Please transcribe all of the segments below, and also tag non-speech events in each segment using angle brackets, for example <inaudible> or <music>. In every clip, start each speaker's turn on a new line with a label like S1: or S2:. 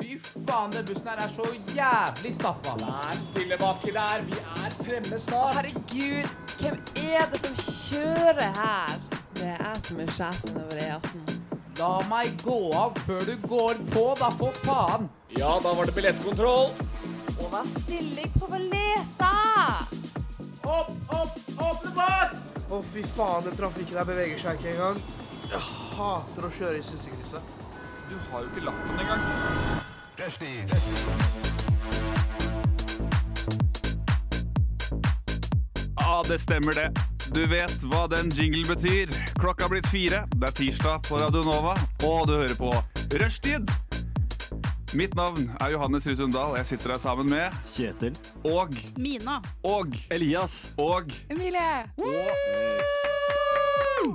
S1: Fy faen, den bussen her er så jævlig stappa.
S2: Vær stille baki der, vi er fremme snart.
S3: Herregud, hvem er det som kjører her? Det er jeg som er sjefen over E18.
S1: La meg gå av før du går på, da, for faen.
S2: Ja, da var det billettkontroll.
S3: Og vær stille, jeg prøver å lese!
S1: Opp, opp, åpne båt!
S4: Å, fy faen, den trafikken her beveger seg ikke engang. Jeg hater å kjøre i synsekrysset.
S2: Du har jo ikke lappen engang.
S5: Ja, det stemmer det. Du vet hva den jingle betyr. Klokka er blitt fire, det er tirsdag på Radio Nova, og du hører på Rushtid. Mitt navn er Johannes Rysund Dahl. Jeg sitter her sammen med
S6: Kjetil.
S5: og
S7: Mina.
S5: og
S6: Elias.
S5: og
S3: Emilie!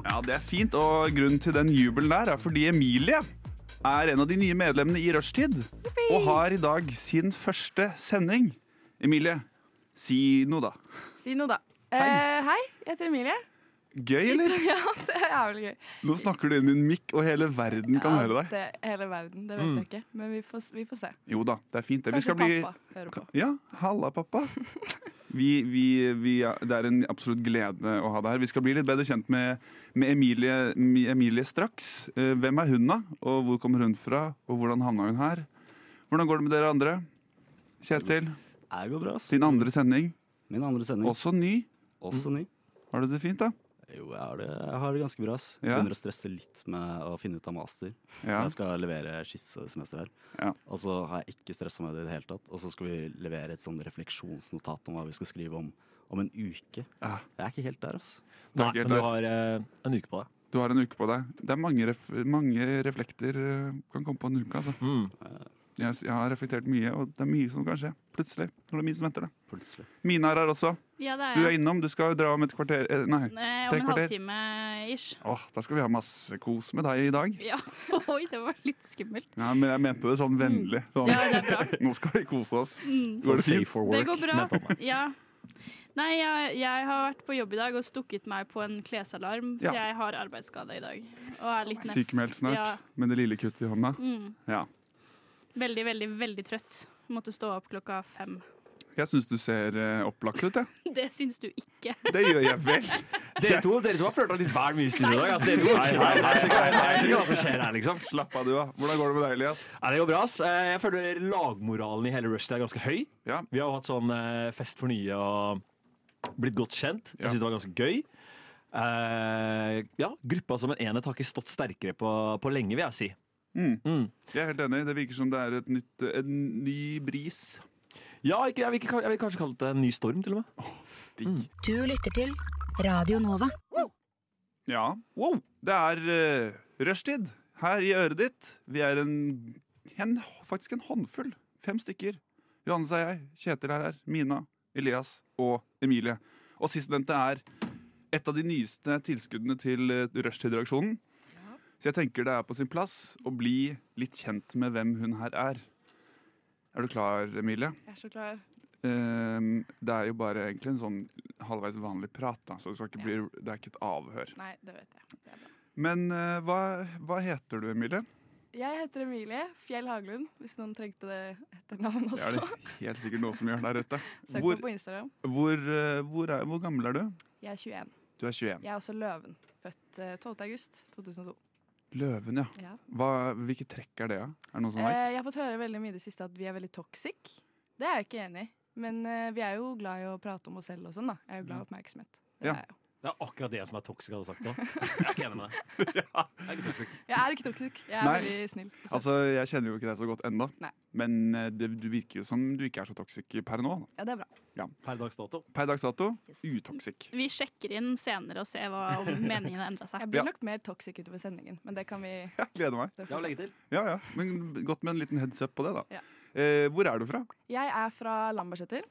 S5: Ja, det er fint, og grunnen til den jubelen der er fordi Emilie er en av de nye medlemmene i Rushtid og har i dag sin første sending. Emilie, si noe, da.
S7: Si noe, da. Hei. hei, jeg heter Emilie. <laughs>
S5: Gøy, eller?
S7: Ja, det er jævlig gøy.
S5: Nå snakker du inn i en mikk, og hele verden kan høre deg.
S7: Det, hele verden, det vet jeg ikke. Men vi får, s- vi får se.
S5: Jo da, det er fint. Det. Vi
S7: Kanskje
S5: skal bli
S7: pappa hører på. <laughs>
S5: Ja, halla, pappa. Vi, vi, vi, det er en absolutt glede å ha deg her. Vi skal bli litt bedre kjent med, med Emilie, Mi- Emilie straks. Eh, Hvem er hun, da? Og hvor kommer hun fra? Og hvordan havna hun her? Hvordan går det med dere andre? Kjetil,
S6: Det går bra, ass.
S5: din andre sending,
S6: Min andre sending.
S5: også ny.
S6: Også ny.
S5: Har du det fint, da?
S6: Jo, jeg har det, jeg har det ganske bra, ass.
S5: Ja.
S6: Begynner å stresse litt med å finne ut av master. Så
S5: Ja.
S6: jeg skal levere skissesemester her.
S5: Ja.
S6: Og så har jeg ikke stressa med det i det hele tatt. Og så skal vi levere et sånn refleksjonsnotat om hva vi skal skrive om om en uke.
S5: Ja.
S6: Jeg er ikke helt der, ass.
S5: Nei,
S8: Nei,
S5: helt
S8: men du
S5: der.
S8: har eh, en uke på deg.
S5: Du har en uke på deg. Det er mange, ref mange reflekter eh, kan komme på en uke, altså. Jeg, s- jeg har reflektert mye, og det er mye som kan skje plutselig. Når det er mye som venter, da.
S6: Plutselig.
S5: Mina er her også.
S7: Ja, det
S5: Du
S7: er
S5: er
S7: jeg.
S5: innom, du skal dra om et kvarter eh, Nei,
S7: Eh, om
S5: tre
S7: en
S5: kvarter.
S7: halvtime ish.
S5: Åh, da skal vi ha masse kos med deg i dag.
S7: Ja. Oi, det var litt skummelt.
S5: Ja, men jeg mente det sånn vennlig. Sånn.
S7: Ja, det er
S5: <laughs>
S7: bra.
S5: Nå skal vi kose oss.
S7: Mm.
S5: Går det
S8: Safe
S5: fint?
S8: for work.
S7: Det går
S8: mente han.
S7: bra. Ja. Nei, jeg, jeg har vært på jobb i dag og stukket meg på en klesalarm, så
S5: Ja.
S7: jeg har arbeidsskade i dag. Og er litt neff.
S5: Sykemeldt snart,
S7: Ja.
S5: med det lille kuttet i hånda.
S7: Mm.
S5: Ja.
S7: Veldig, veldig, veldig trøtt. Måtte stå opp klokka fem. <laughs>
S5: Jeg syns du ser eh, opplagt ut, jeg.
S7: Det syns du ikke.
S5: Det gjør jeg vel.
S8: Dere to, dere to har flørta litt vel mye i studio i dag. Altså, dere to
S5: Nei, nei, nei,
S8: Jeg vet ikke hva som skjer her, liksom.
S5: Slapp av, du, da. Hvordan går det med deg, Elias?
S8: Nei, det går bra, ass. Eh, Jeg føler lagmoralen i hele Rush er ganske høy.
S5: Ja.
S8: Vi har jo hatt sånn eh, fest for nye og blitt godt kjent.
S5: Ja.
S8: Jeg syns det var ganske gøy. Eh, ja, gruppa som en enhet har ikke stått sterkere på, på lenge, vil jeg si.
S5: Jeg er helt enig. Det virker som det er et nytt, eh, en ny bris.
S8: Ja, ikke, jeg, vil ikke, kalle- jeg vil kanskje kalle det en ny storm, til og med.
S5: Digg.
S9: Du lytter til Radio Nova.
S5: Ja. Det er uh, rushtid her i øret ditt. Vi er en, en faktisk en håndfull. Fem stykker. Johannes er jeg, Kjetil er her, Mina, Elias og Emilie. Og sistnevnte er et av de nyeste tilskuddene til eh, rushtid-reaksjonen. Så jeg tenker det er på sin plass å bli litt kjent med hvem hun her er. Er du klar, Emilie?
S7: Jeg er så klar.
S5: Ehm, det er jo bare egentlig en sånn halvveis vanlig prat, da, så det, skal ikke bli, det er ikke et avhør.
S7: Nei, det vet jeg. Det er bra.
S5: Men eh, hva, hva heter du, Emilie?
S7: Jeg heter Emilie Fjell Haglund, hvis noen trengte det etternavn
S5: Det er
S7: også.
S5: det helt sikkert noen som gjør der ute.
S7: <laughs> Søk
S5: Hvor,
S7: meg på Instagram.
S5: hvor, eh, hvor, er, hvor gammel er du?
S7: Jeg er 21.
S5: Du er 21.
S7: Jeg er også løven. Født eh, 12. august 2002.
S5: Løven, ja.
S7: Ja.
S5: Hva, hvilke trekk er det, da? Er det noen som
S7: Eh,
S5: vet?
S7: jeg har fått høre veldig mye i det siste at vi er veldig toxic. Det er jeg ikke enig i. Men eh, vi er jo glad i å prate om oss selv og sånn, da. Jeg er jo glad i oppmerksomhet. Det
S5: Mm. Ja.
S7: er jeg jo.
S2: Det er akkurat det som er toxic, hadde
S8: <laughs>
S2: sagt nå. Jeg er ikke enig med deg. Jeg er ikke toxic.
S7: Jeg er ikke toxic. Jeg er
S5: Nei.
S7: veldig snill. og søt.
S5: Altså, Jeg kjenner jo ikke deg så godt ennå,
S7: Nei.
S5: men eh, det, du virker jo som du ikke er så toxic per nå. da.
S7: Ja, det er bra.
S8: Per dags dato.
S5: Per dags dato
S7: Yes.
S5: utoxic. <laughs>
S10: Vi sjekker inn senere og ser hva, om meningen har endra seg.
S7: Jeg
S5: Ja.
S7: blir nok mer toxic utover sendingen, men det kan vi
S5: Jeg gleder meg.
S7: det
S8: Jeg
S7: får
S8: vil
S7: vi se.
S8: legge til.
S5: Ja, ja. Men Godt med en liten heads up på det, da.
S7: Ja.
S5: Eh, hvor er du fra?
S7: Jeg er fra Lambertseter,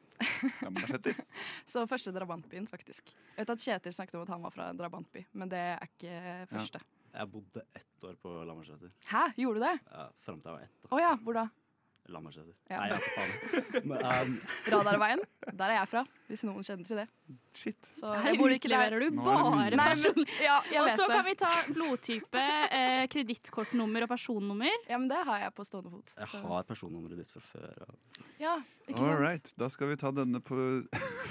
S5: Ja, men jeg setter.
S7: <laughs> så første drabantbyen, faktisk. Jeg vet at Kjetil snakket om at han var fra en drabantby, men det er ikke første.
S6: Jeg bodde ett år på Lambertseter.
S7: Hæ, gjorde du det?
S6: Ja, Fram til jeg var ett. da.
S7: Å ja, hvor da?
S6: Lammerseter.
S7: Ja.
S6: Nei, jeg er på faen. Men, um,
S7: Radarveien, der er jeg fra, hvis noen kjenner til det.
S5: Shit.
S7: Så
S10: Der
S7: jeg bor ikke der.
S10: utleverer du
S5: Nå er det
S10: bare
S5: mye.
S7: Nei,
S10: person...
S7: men, ja, jeg
S10: Og
S7: vet
S10: så
S7: det.
S10: kan vi ta blodtype, eh, kredittkortnummer og personnummer.
S7: Ja, men det har jeg på stående fot.
S6: jeg
S7: så-
S6: har personnummeret ditt fra før. og-
S7: Ja, ikke
S5: All
S7: sant?
S5: right, da skal vi ta denne på <laughs>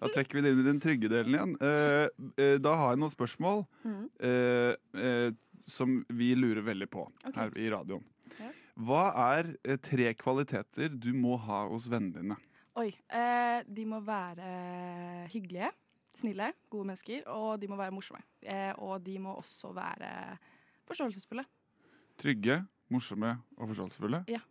S5: Da trekker vi det inn i den trygge delen igjen. Eh, eh, da har jeg noen spørsmål
S7: Mm.
S5: eh, eh, som vi lurer veldig på
S7: Ok.
S5: her i radioen.
S7: Ja.
S5: Hva er eh, tre kvaliteter du må ha hos vennene dine?
S7: Oi. Eh, de må være hyggelige, snille, gode mennesker, og de må være morsomme. Eh, og de må også være forståelsesfulle.
S5: Trygge, morsomme og forståelsesfulle?
S7: Ja.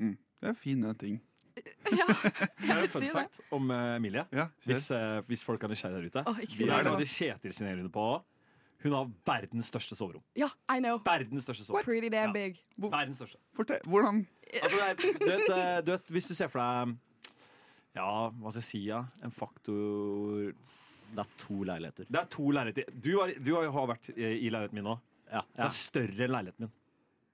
S5: Mm. Det er fine ting.
S7: ja,
S8: Det
S7: jeg
S8: er
S7: vil
S8: en
S7: si
S8: fun
S7: det.
S8: fact om eh, Emilie.
S5: Ja, kjør.
S8: Hvis, eh, hvis folk er nysgjerrige der ute.
S7: Å, ikke si
S8: det
S7: det.
S8: er noe de Kjetil signerer under på. Hun har verdens største soverom.
S7: Ja, I know.
S8: Verdens største soverom.
S7: Pretty damn
S8: Ja.
S7: big.
S8: Verdens største.
S5: Fortell, hvordan
S8: Altså, det er, du, vet, eh, du vet, hvis du ser for deg Ja, hva skal jeg si? Ja? En faktor
S6: Det er to leiligheter.
S8: Det er to leiligheter. Du, har, du har- har vært i i leiligheten min nå.
S6: Ja,
S8: Det er større enn leiligheten min.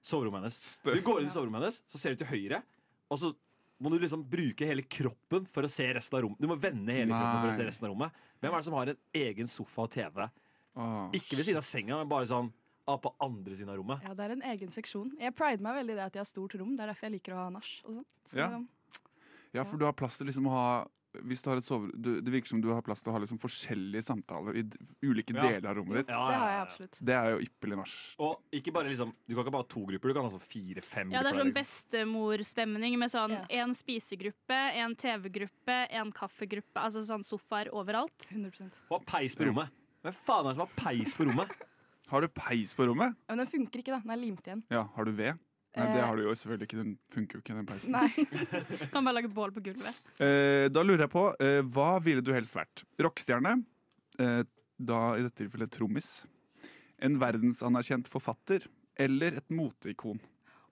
S8: Soverommet hennes. Du går inn i soverommet hennes, så ser du til høyre, og så må du liksom bruke hele kroppen for å se resten av rommet. Du må vende hele kroppen for å se
S5: Nei.
S8: resten av rommet. Hvem er det som har en egen sofa og TV?
S5: Åh,
S8: Ikke ved siden av senga, men bare sånn ah, på andre siden av rommet.
S7: Ja, det er en egen seksjon. Jeg prider meg veldig i det at jeg har stort rom. Det er derfor jeg liker å ha nach og sånn. Så,
S5: Ja. Ja, for du har plass til liksom å ha hvis du har et sover, du, Det virker som du har plass til å ha liksom forskjellige samtaler i d ulike
S8: Ja.
S5: deler av rommet ditt.
S8: Ah, Ja,
S7: Det
S8: ja,
S7: har
S8: ja,
S7: jeg
S8: ja.
S7: absolutt.
S5: Det er jo ypperlig nach.
S8: Og ikke bare liksom Du kan ikke bare ha to grupper, du kan ha sånn fire-fem
S10: Ja, Det er
S8: grupper.
S10: sånn bestemorstemning med sånn
S7: Ja.
S10: en spisegruppe, en TV-gruppe, en kaffegruppe. Altså sånn sofaer overalt.
S7: <laughs> 100
S8: Og ha liksom. peis på rommet. Hvem faen er det som har peis på <laughs> rommet?
S5: Har du peis på rommet?
S7: Ja, Men den funker ikke, da. Den er limt igjen.
S5: Ja, har du ved? Nei,
S7: Eh,
S5: det har du jo selvfølgelig ikke. Den funker jo ikke, den peisen.
S7: Nei.
S10: Kan bare lage bål på gulvet.
S5: Eh, da lurer jeg på, eh, hva ville du helst vært? Rockestjerne? Eh, da i dette tilfellet trommis? En verdensanerkjent forfatter? Eller et moteikon?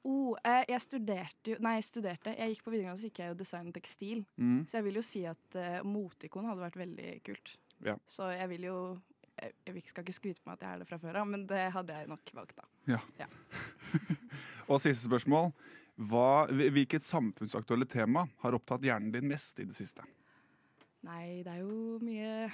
S7: Oh, eh, jeg studerte jo Nei, jeg studerte. Jeg gikk på videregående, så gikk jeg jo design og tekstil.
S5: Mm.
S7: Så jeg vil jo si at eh, moteikon hadde vært veldig kult.
S5: Ja.
S7: Så jeg vil jo jeg, jeg vil ikke- skal ikke skryte på meg at jeg er det fra før av, men det hadde jeg nok valgt, da.
S5: <laughs> Og siste spørsmål. Hva, hvilket samfunnsaktuelle tema har opptatt hjernen din mest i det siste?
S7: Nei, det er jo mye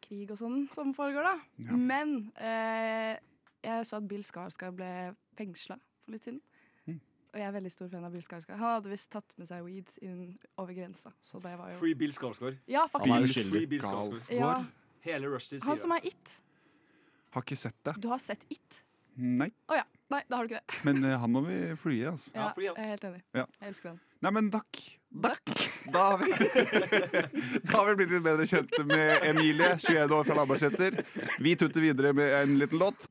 S7: krig og sånn som foregår, da.
S5: Ja.
S7: Men eh, jeg så at Bill Skarsgård ble fengsla for litt siden.
S5: Mm.
S7: Og jeg er veldig stor fan av Bill Skarsgård. Han hadde visst tatt med seg weed inn over grensa, så det var jo
S8: Free Bill Skarsgård.
S7: Ja,
S6: Han er
S7: faktisk.
S6: jo skyldig.
S8: Free Bill Skarsgård.
S7: Ja,
S5: Galsgaard?
S8: Hele Rushdie
S7: han
S8: sier
S7: som
S8: det.
S7: er It.
S5: Har ikke sett det.
S7: Du har sett It?
S5: Nei,
S7: Å ja. Nei, da har du ikke det.
S5: men eh, han må vi flye, altså.
S8: Ja, fordi
S7: jeg
S8: han-
S7: er helt enig.
S5: Ja.
S7: Jeg elsker den.
S5: Nei, men takk. Takk. Da har vi, da har vi <laughs> blitt litt bedre kjent med Emilie, 21 år fra Lambertseter. Vi tutter videre med en liten låt.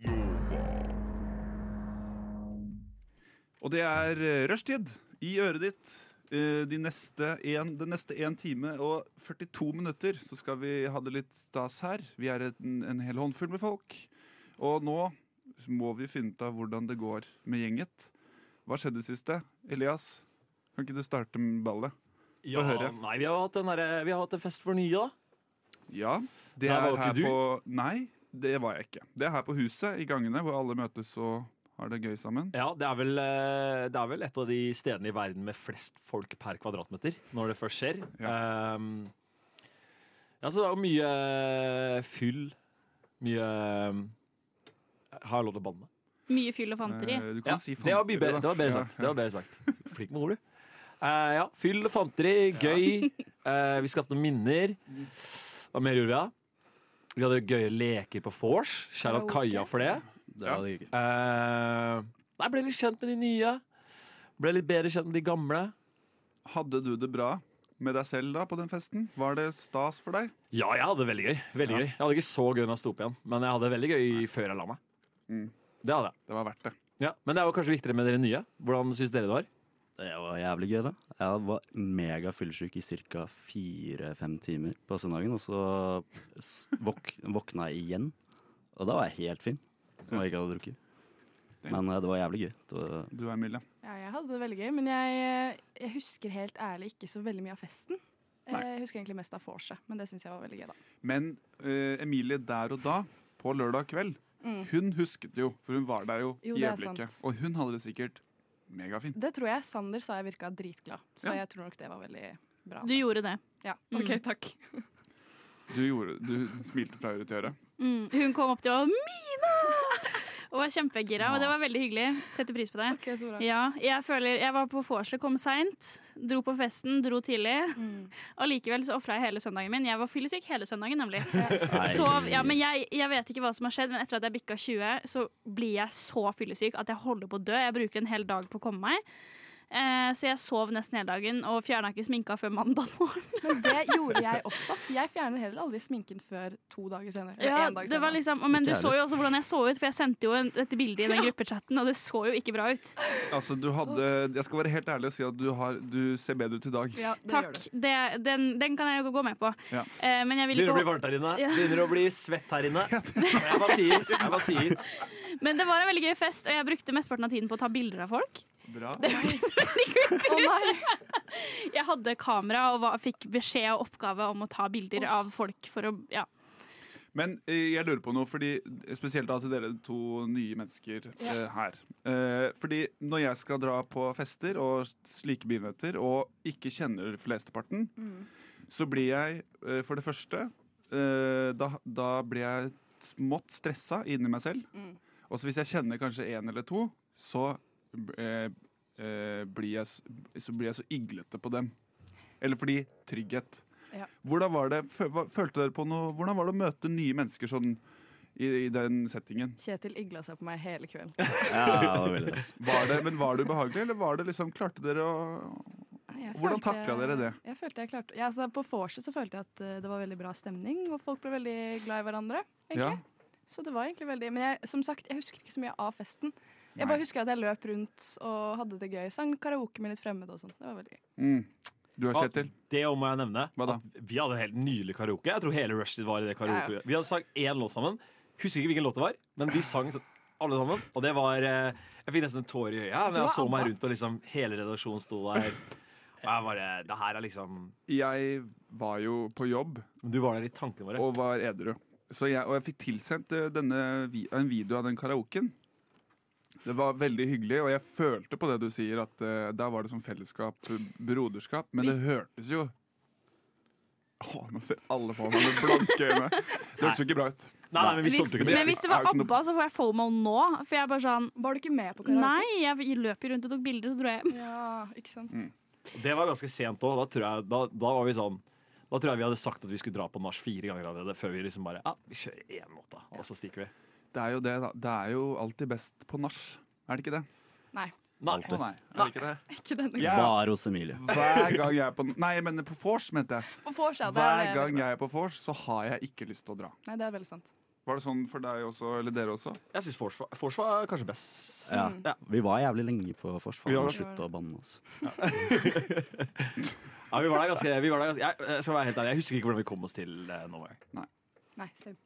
S5: Og det er eh, rushtid i øret ditt. Eh, De neste en, den neste 1 time og 42 minutter så skal vi ha det litt stas her. Vi er en, en hel håndfull med folk. Og nå må vi finne ut av hvordan det går med gjenget. Hva skjedde siste? Elias, kan ikke du starte med ballet?
S8: Ja,
S5: høre.
S8: nei, vi har hatt en, derre- vi har hatt en fest for nye, da.
S5: Ja, det
S8: Der
S5: er
S8: var
S5: her
S8: ikke du.
S5: på Nei, det var jeg ikke. Det er her på huset, i gangene, hvor alle møtes og har det gøy sammen.
S8: Ja, det er, vel, eh, det er vel et av de stedene i verden med flest folk per kvadratmeter, når det først skjer. Ehm, ja, så det er jo mye eh, fyll. Mye eh, Har jeg lov til å banne?
S10: Mye fyll og fanteri.
S5: Eh, Du
S8: Ja,
S5: kan si
S8: det, var mye bedre,
S5: da.
S8: det var bedre
S5: Ja,
S8: sagt. Det var bedre sagt. Flink med ord, du. Eh, ja, fyll og fanteri, gøy. <laughs> Eh, vi skapte noen minner. Hva mer gjorde vi? da? Vi hadde gøye leker på vors. Skjærat
S7: Karaoke.
S8: Kaja for det.
S6: Det
S5: Ja.
S6: var det ikke.
S8: Eh, nei, ble litt kjent med de nye. Ble litt bedre kjent med de gamle.
S5: Hadde du det bra med deg selv da på den festen? Var det stas for deg?
S8: Ja, jeg hadde det veldig gøy. Veldig gøy. Jeg hadde ikke så gøy da jeg sto opp igjen, men jeg hadde det veldig gøy før jeg la meg.
S5: Mm.
S8: Det hadde jeg.
S5: Det var verdt det.
S8: Ja. Men det er jo kanskje viktigere med dere nye. Hvordan syns dere det var?
S6: Det var jævlig gøy, da. Jeg var megafyllesyk i ca. fire-fem timer på søndagen. Og så s- våk våkna jeg igjen, og da var jeg helt fin, som jeg ikke hadde drukket. Men eh, det var jævlig gøy. Det var,
S5: Du Emilie.
S7: Ja, jeg hadde det veldig gøy, men jeg, jeg husker helt ærlig ikke så veldig mye av festen.
S5: Nei.
S7: Jeg husker egentlig mest av vorset, men det syns jeg var veldig gøy, da.
S5: Men eh, Emilie der og da, på lørdag kveld,
S7: Mm.
S5: hun husket jo, for hun var der jo,
S7: Jo,
S5: i
S7: det er
S5: øyeblikket.
S7: sant.
S5: Og hun hadde det sikkert Megafin.
S7: Det tror jeg Sander sa jeg virka dritglad, så
S5: Ja.
S7: jeg tror nok det var veldig bra.
S10: Du gjorde det.
S7: Ja, OK,
S10: Mm.
S7: takk.
S5: Du, gjorde, du smilte fra øre til øre.
S10: Mm. Hun kom opp til meg og 'Mina!' <laughs> og var kjempegira. Og det var veldig hyggelig. Setter pris på det.
S7: Ok, så bra.
S10: Ja, jeg føler Jeg var på vorset, kom seint. Dro på festen, dro tidlig. <laughs> Allikevel så ofra jeg hele søndagen min. Jeg var fyllesyk hele søndagen, nemlig. Sov, ja, men jeg, jeg vet ikke hva som har skjedd, men etter at jeg bikka 20, så blir jeg så fyllesyk at jeg holder på å dø. Jeg bruker en hel dag på å komme meg. Eh, så jeg sov nesten hele dagen og fjerna ikke sminka før mandag morgen.
S7: Men det gjorde jeg også. Jeg fjerner heller aldri sminken før to dager senere. Eller
S10: Ja,
S7: en dag
S10: det var
S7: senere.
S10: liksom, men du
S6: Ikke
S10: så jo også hvordan jeg så ut, for jeg sendte jo en, dette bildet i den gruppechatten, og det så jo ikke bra ut.
S5: Altså, du hadde, jeg skal være helt ærlig og si at du, har, du ser bedre ut i dag.
S7: Ja, det gjør
S10: Takk.
S7: det.
S10: Det, den, den kan jeg jo gå med på.
S5: Ja.
S10: Eh, men jeg vil
S8: Begynner å
S10: ikke
S8: bli varmt her inne.
S10: Ja.
S8: Begynner å bli svett her inne. Jeg bare sier. Jeg bare sier.
S10: Men det var en veldig gøy fest, og jeg brukte mesteparten av tiden på å ta bilder av
S7: <laughs>
S10: folk.
S5: Bra.
S7: Å nei!
S10: Jeg hadde kamera og var, fikk beskjed og oppgave om å ta bilder av folk for å ja.
S5: Men eh, jeg lurer på noe, fordi eh, spesielt da til dere to nye mennesker eh, her. Eh, fordi når jeg skal dra på fester og slike begivenheter og ikke kjenner flesteparten, så blir jeg eh, for det første eh, da, da blir jeg smått stressa inni meg selv. Og så hvis jeg kjenner kanskje én eller to, så, eh, eh, blir jeg, s- så blir jeg så iglete på dem. Eller fordi trygghet.
S7: Ja.
S5: Hvordan var det, fø- hva- følte dere på noe, hvordan var det å møte nye mennesker sånn i, i den settingen?
S7: Kjetil igla seg på meg hele kvelden.
S6: Ja, det var veldig nice.
S5: Var det, men var det ubehagelig, eller var det liksom, klarte dere å
S7: Nei, jeg
S5: Hvordan
S7: følte-
S5: taklet dere det?
S7: Jeg følte jeg klarte ja, altså, På vorset så følte jeg at eh, det var veldig bra stemning, og folk ble veldig glad i hverandre.
S5: Ja.
S7: egentlig. Så det var egentlig veldig Men jeg, som sagt, jeg husker ikke så mye av festen. Jeg
S5: Nei.
S7: bare husker at jeg løp rundt og hadde det gøy. Sang karaoke med litt fremmede og sånn. Det var veldig gøy.
S5: mm. Du har sett til?
S8: Det må jeg nevne.
S5: Hva da?
S8: At vi hadde helt nydelig karaoke. Jeg tror hele Rushdie var i det karaoke.
S7: Ja,
S8: Vi hadde sang én låt sammen. Husker ikke hvilken låt det var, men vi sang sånn, alle sammen. Og det var eh, Jeg fikk nesten en tåre i øyet ja, når
S7: var
S8: jeg så meg
S7: ABBA.
S8: rundt, og liksom hele redaksjonen sto der. Og jeg bare Det her er liksom
S5: Jeg var jo på jobb
S8: Du var der i tankene våre.
S5: og var edru. Så jeg, og jeg fikk tilsendt eh, denne, vi- en video av den karaoken. Det var veldig hyggelig, og jeg følte på det du sier, at eh, der var det som fellesskap, eh, broderskap, men det hørtes jo Å, nå ser alle på meg med blanke øyne. Det hørtes jo ikke bra ut.
S8: Nei, nei, men vi
S10: hvis,
S8: solgte ikke det.
S10: Men hvis det var
S5: Er jo ikke noe-
S10: ABBA, så får jeg FOMO nå. For jeg er bare sånn
S7: Var du ikke med på karaoke?
S10: Nei, jeg løp jo rundt og tok bilder, så dro jeg hjem.
S7: Ja, ikke sant?
S5: Mm.
S8: Det var ganske sent òg. Da, tror jeg- da, da var vi sånn da tror jeg vi hadde sagt at vi skulle dra på nach fire ganger allerede. Før vi liksom bare Ja, vi kjører én låt, da. Og så stikker vi.
S5: Det er jo det, da. Det er jo alltid best på nach. Er det ikke det?
S8: Nei.
S5: Å nei, er det ikke det?
S7: <laughs> Ikke denne
S5: Ja.
S6: Bare hos Emilie.
S5: Hver gang jeg er på Nei, jeg mener på vors, mente jeg.
S7: På vorset, det er
S5: Hver
S7: det-
S5: gang jeg er på vors, så har jeg ikke lyst til å dra.
S7: Nei, det er veldig sant.
S5: Var det sånn for deg også, eller dere også?
S8: Jeg syns Force var- Force var kanskje best.
S6: Ja.
S8: Ja.
S6: Vi var jævlig lenge på forsvar.
S8: Vi var-
S6: Vi slutta å banne oss.
S8: Ja, vi var der ganske, vi var der ganske jeg, jeg skal være helt ærlig, jeg husker ikke hvordan vi kom oss til eh, nå. jeg.
S7: Nei, same.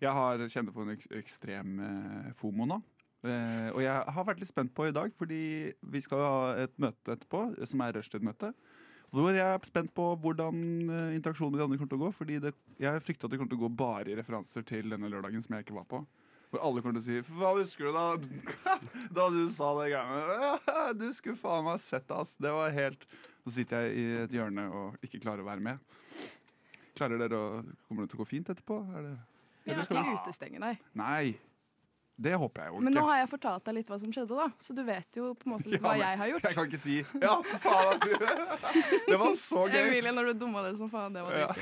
S5: Jeg har kjent på en ek ekstrem eh, FOMO nå. Eh, og jeg har vært litt spent på i dag, fordi vi skal jo ha et møte etterpå, som er rushtid-møte. Hvor jeg er spent på hvordan eh, interaksjonen med de andre kommer til å gå. Fordi det, jeg frykter at det kommer til å gå bare i referanser til denne lørdagen som jeg ikke var på. Hvor alle kommer til å si Hva husker du da <laughs> Da du sa det greiene? <laughs> Du skulle faen meg sett det, ass. Det var helt Så sitter jeg i et hjørne og ikke klarer å være med. Klarer dere å Kommer det til å gå fint etterpå? Er det
S7: Vi skal ikke utestenge deg.
S5: Nei, det håper jeg jo ikke.
S7: Men nå har jeg fortalt deg litt hva som skjedde, da. Så du vet jo på en måte litt hva
S5: <laughs> Ja, men
S7: jeg har gjort.
S5: Jeg kan ikke si Ja, faen! at du- Det var så gøy!
S7: Emilie, når du dumma deg som faen, det var
S5: Ja.
S7: det.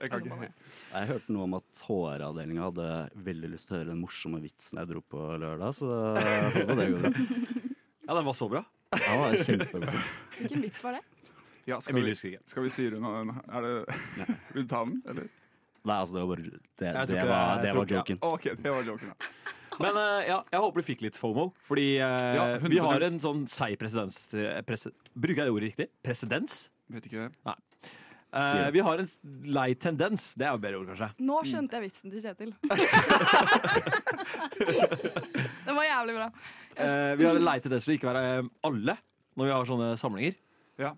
S5: Jeg kan ikke
S6: Jeg hørte noe om at HR-avdelinga hadde veldig lyst til å høre den morsomme vitsen jeg dro på lørdag, så jeg satser på at det går bra.
S8: Ja, den var så bra.
S6: Ja, det var kjempebra.
S7: Hvilken vits var det?
S5: ja, skal,
S8: Emilie
S5: vi,
S8: husker ikke.
S5: skal vi styre unna den? Er det <laughs> Vil du ta den, eller?
S6: Nei, altså, det var bare Det,
S8: tror
S6: det, var,
S8: ikke- jeg
S6: det
S8: tror
S6: var
S8: ikke-
S6: joken.
S5: OK, det var joken, da.
S8: Men eh, ja, jeg håper du fikk litt FOMO, fordi eh,
S5: Ja, 100%.
S8: vi har en sånn seig presedens eh, prese, Bruker jeg det ordet riktig? Presedens?
S5: Vet ikke det.
S8: Eh,
S6: Sier det.
S8: vi har en lei tendens. Det er jo et bedre ord, kanskje.
S7: Nå skjønte jeg vitsen til <laughs> Kjetil. Den var jævlig bra.
S8: Eh, vi har en lei tendens til å ikke være eh, alle når vi har sånne samlinger.
S5: Ja.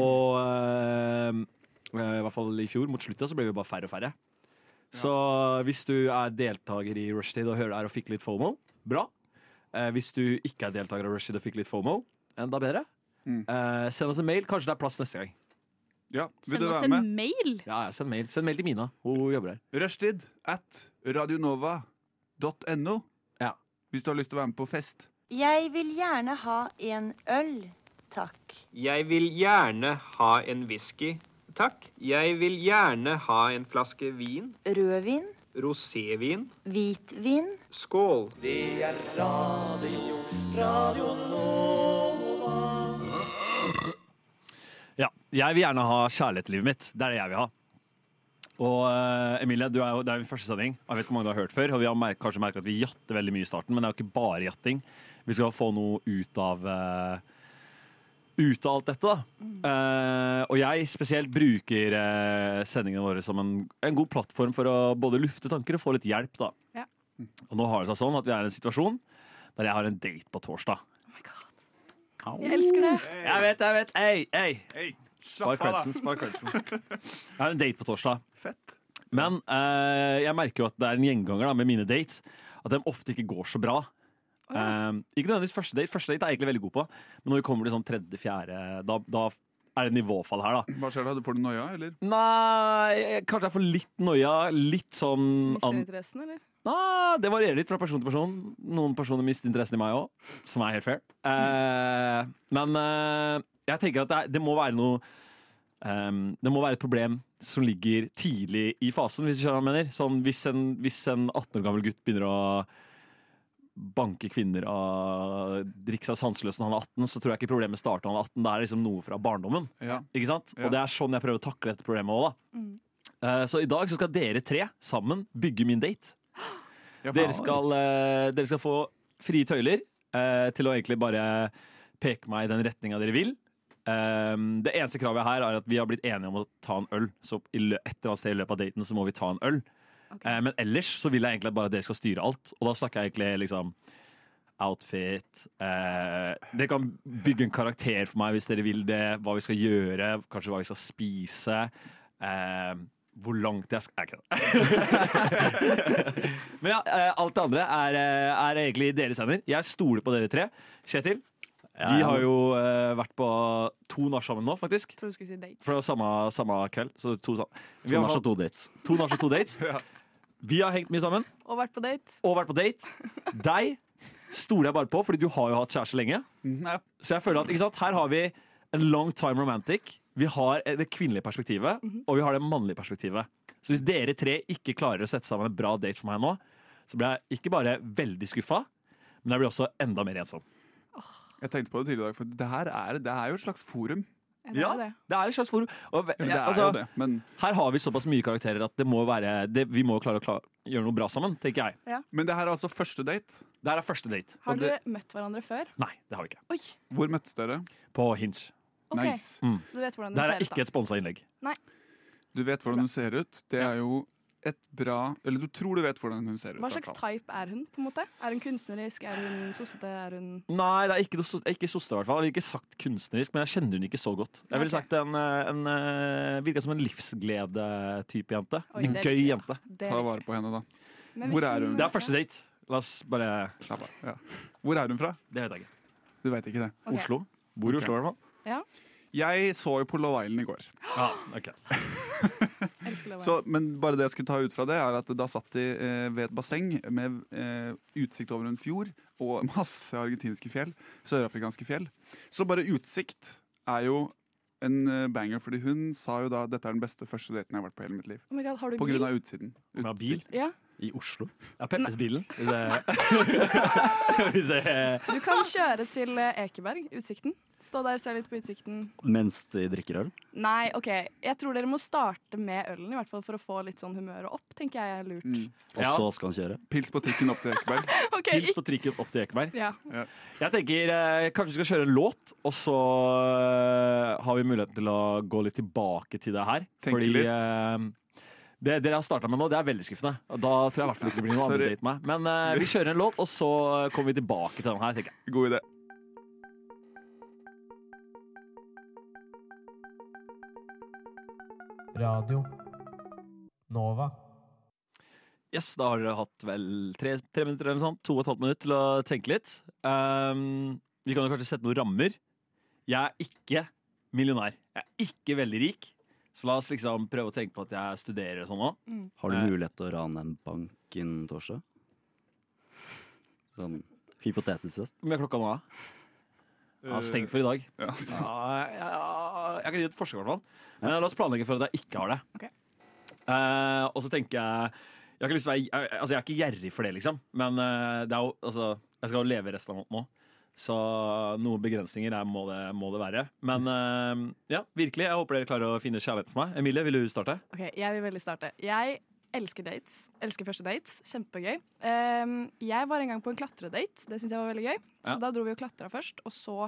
S8: Og eh, eh, i hvert fall i fjor, mot slutta, så ble vi bare færre eh, og færre. Så hvis du er deltaker i Rushtid og hører det her og fikk litt FOMO, bra. Eh, hvis du ikke er deltaker av Rushdie og fikk litt FOMO, enda bedre.
S5: Mm.
S8: Eh, send oss en mail. Kanskje det er plass neste gang.
S5: Ja, vil
S10: Send
S5: du
S10: oss
S5: være
S10: en
S5: med?
S10: mail.
S8: Ja, ja, Send mail Send mail til Mina. Hun jobber her.
S5: Rushtid at radionova.no
S8: Ja.
S5: hvis du har lyst til å være med på fest.
S11: Jeg vil gjerne ha en øl, takk.
S1: Jeg vil gjerne ha en whisky, takk. Jeg vil gjerne ha en flaske vin.
S11: Rødvin,
S1: Rosévin.
S11: hvitvin.
S1: Skål.
S8: Ja, Jeg vil gjerne ha kjærlighet i livet mitt. Det er det jeg vil ha. Og eh, Emilie, du er jo, det er jo min første sending. Jeg vet ikke hvor mange du har hørt før. Og vi har mer kanskje merket at vi jatter veldig mye i starten, men det er jo ikke bare jatting. Vi skal få noe ut av eh, ut av alt dette, da. Eh, og jeg spesielt bruker eh, sendingene våre som en, en god plattform for å både lufte tanker og få litt hjelp, da.
S7: Ja.
S8: Og nå har det seg sånn at vi er i en situasjon der jeg har en date på torsdag.
S7: Jeg elsker det.
S5: Mm.
S8: Jeg vet, jeg vet. Ei, ei.
S5: Slapp
S8: Spar kveldsen, spar kveldsen. Jeg har en date på torsdag. Men eh, jeg merker jo at det er en gjenganger da, med mine dates. At de ofte ikke går så bra. Eh, ikke nødvendigvis første date. Første date er jeg egentlig veldig god på. Men når vi kommer til sånn tredje-fjerde, da, da er det nivåfall her, da.
S5: Hva skjer da? Du får du noia, eller?
S8: Nei, jeg- kanskje jeg får litt noia. Litt sånn
S7: Mister
S8: an...
S7: interessen, eller?
S8: Nei, Det varierer litt fra person til person. Noen personer mister interessen i meg òg, som er helt fair. Eh, men eh, jeg tenker at det, er, det må være noe ehm, Det må være et problem som ligger tidlig i fasen, hvis du skjønner hva jeg mener. Sånn, hvis, en, hvis en 18 år gammel gutt begynner å banke kvinner og drikke seg sanseløs når han er 18, så tror jeg ikke problemet starter når han er 18. Det er liksom noe fra barndommen.
S5: Ja.
S8: Ikke sant?
S5: Ja.
S8: Og det er sånn jeg prøver å takle dette problemet òg, da. Eh, så i dag så skal dere tre sammen bygge min date.
S5: Ja,
S8: Dere
S5: faen.
S8: skal, eh, dere skal få frie tøyler eh, til å egentlig bare peke meg i den retninga dere vil. Ehm, det eneste kravet her er at vi har blitt enige om å ta en øl. Så i lø et eller annet sted i løpet av daten så må vi ta en øl. Eh, men ellers så vil jeg egentlig bare at dere skal styre alt. Og da snakker jeg egentlig liksom outfit eh, Dere kan bygge en karakter for meg hvis dere vil det. Hva vi skal gjøre, kanskje hva vi skal spise. Eh, hvor langt jeg skal Er ikke det. <laughs> Men ja, eh, alt det andre er, eh, er egentlig deres hender. Jeg stoler på dere tre. Kjetil,
S6: Ja,
S8: vi
S6: ja.
S8: har jo eh, vært på to nach sammen nå, faktisk.
S7: Tror du skulle si date.
S8: For det var samme, samme kveld. Så to, sam- vi
S6: To
S8: har
S6: nach og
S8: hatt
S6: to dates.
S8: to nach og
S6: <laughs>
S8: to dates. Vi har hengt mye sammen
S7: Og vært på date.
S8: og vært på date. Deg stoler jeg bare på, fordi du har jo hatt kjæreste lenge.
S5: Nei.
S8: Så jeg føler at, ikke sant, her har vi en long time romantic. Vi har eh, det kvinnelige perspektivet, og vi har det mannlige perspektivet. Så hvis dere tre ikke klarer å sette sammen en bra date for meg nå, så blir jeg ikke bare veldig skuffa, men jeg blir også enda mer ensom.
S5: Jeg tenkte på det tidligere i dag, for det her er, det er jo et slags forum.
S7: Er det det?
S8: det er et slags forum. Og, ve-
S5: Det
S8: ja,
S5: er
S8: altså,
S5: jo det, men,
S8: her har vi såpass mye karakterer at det må være, det, vi må jo klare å kla- gjøre noe bra sammen, tenker jeg.
S5: men det her er altså første date.
S8: Det her er første date.
S7: Har
S5: Og
S7: dere
S5: det-
S7: møtt hverandre før?
S8: Nei, det har vi ikke.
S7: Oi,
S5: Hvor møttes dere?
S8: På Hinge.
S7: ok.
S5: Nice.
S7: Så du vet hvordan
S8: Det
S7: det
S8: her er
S7: ser ut,
S8: ikke
S7: da.
S8: et sponsa innlegg.
S5: Du vet hvordan hun ser ut. Det er jo et bra Eller du tror du vet hvordan hun ser ut.
S7: Hva
S5: i hvert
S7: slags
S5: fall.
S7: type er hun? på en måte? Er hun kunstnerisk? Er hun sossete? Er hun
S8: Nei, det er ikke, noe sos- ikke sosta i hvert fall. Jeg ville ikke sagt kunstnerisk, men jeg kjenner hun ikke så godt. Jeg
S7: Ok.
S8: ville sagt en, eh, en eh, virka som en livsglede-type jente.
S7: Oi,
S8: en
S7: det
S8: gøy
S7: liker jeg.
S8: jente.
S7: Det
S5: Ta
S7: liker
S5: vare
S7: jeg.
S5: på henne, da.
S7: Men
S5: Hvor
S7: hvis
S5: er hun?
S8: Det er første date. La oss bare
S5: Slapp av. Ja. Hvor er hun fra?
S8: Det vet jeg ikke.
S5: Du veit ikke det.
S7: Ok.
S8: Oslo. Bor i
S5: Ok.
S8: Oslo, i hvert fall.
S5: Jeg så jo på Love Island i går.
S8: Ja, ok.
S7: Elsker Love
S5: Så, men bare det jeg skulle ta ut fra det, er at da satt de eh, ved et basseng med eh, utsikt over en fjord og <laughs> masse argentinske fjell. Sørafrikanske fjell. Så bare utsikt er jo en eh, banger, fordi hun sa jo da dette er den beste første daten jeg har vært på hele mitt liv.
S7: Island. Oh my God, har du
S5: På grunn
S7: bil?
S5: av utsiden.
S8: Hun har bil.
S7: Ja.
S6: I Oslo.
S8: Ja, Peppes bilen. Hvis jeg,
S7: <laughs>
S8: <laughs> hvis jeg,
S7: Du kan kjøre til eh, Ekeberg, Utsikten. Stå der, se litt på utsikten.
S6: Mens de drikker øl.
S7: Nei, OK. Jeg tror dere må starte med ølen, i hvert fall for å få litt sånn humøret opp, tenker jeg er lurt.
S5: Mm.
S6: Og
S8: Ja.
S6: så skal han kjøre.
S5: Pils på trikken opp til Ekeberg.
S7: <laughs> OK.
S8: hils på trikken opp til Ekeberg.
S7: Ja.
S8: Jeg tenker eh, Kanskje vi skal kjøre en låt, og så eh, har vi muligheten til å gå litt tilbake til det her.
S5: Tenke
S8: fordi
S5: litt.
S8: eh, det dere har starta med nå, det er veldig skuffende. Og Da tror jeg i hvert fall ikke det blir noe
S5: Sorry.
S8: andre date med meg. Men eh, vi kjører en låt, og så kommer vi tilbake til den her, tenker jeg.
S5: God idé.
S8: Yes, da har dere hatt vel tre, tre minutter eller noe sånt. To og et halvt minutt til å tenke litt. Ehm, vi kan jo kanskje sette noen rammer. Jeg er ikke millionær. Jeg er ikke veldig rik. Så la oss liksom prøve å tenke på at jeg studerer og sånn òg.
S7: Mm.
S6: Har du mulighet til å rane en bank innen torsdag? Sånn hypotesis sett.
S8: Hvor mye er klokka nå, da? Eh, Ja, stengt for i dag.
S5: Ja,
S8: <laughs> ja, jeg kan gi et forsøk, i hvert fall. Men la oss planlegge for at jeg ikke har det. Eh, og så tenker jeg jeg, har ikke lyst til å være, jeg, altså jeg er ikke gjerrig for det, liksom. Men eh, det er jo, altså, jeg skal jo leve resten av måneden nå. Så noen begrensninger er, må, det, må det være. Men eh, ja, virkelig, jeg håper dere klarer å finne kjærligheten for meg. Emilie, vil du starte?
S7: Ok, jeg vil veldig starte. Jeg elsker dates. Elsker første dates. Kjempegøy. Ehm, jeg var en gang på en klatredate. Det syns jeg var veldig gøy. Så
S8: Ja.
S7: da dro vi og klatra først, og så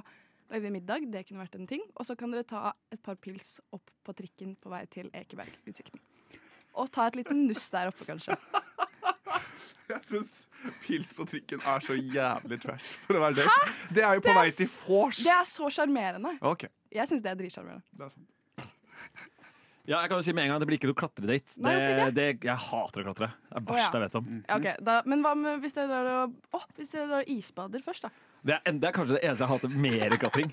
S7: lagde vi middag. Det kunne vært en ting. Og så kan dere ta et par pils opp på trikken på vei til Ekebergutsikten. Og ta et lite nuss der oppe,
S8: <laughs>
S7: kanskje.
S5: Jeg syns pils på trikken er så jævlig trash for å være date. Det er jo på vei til vors!
S7: Det er så sjarmerende.
S5: Ok.
S7: Jeg syns det er dritsjarmerende.
S8: Ja, jeg kan jo si med en gang Det blir ikke noe klatredate.
S7: Nei, hvorfor
S8: Det, det, jeg hater å klatre. Det er
S7: Å, ja. Mm.
S8: det verste jeg vet om.
S7: Ja, ok, da, men hva med hvis dere drar og Å, hvis dere drar og isbader først, da?
S8: Det, er, det er kanskje det eneste jeg hater mer enn klatring.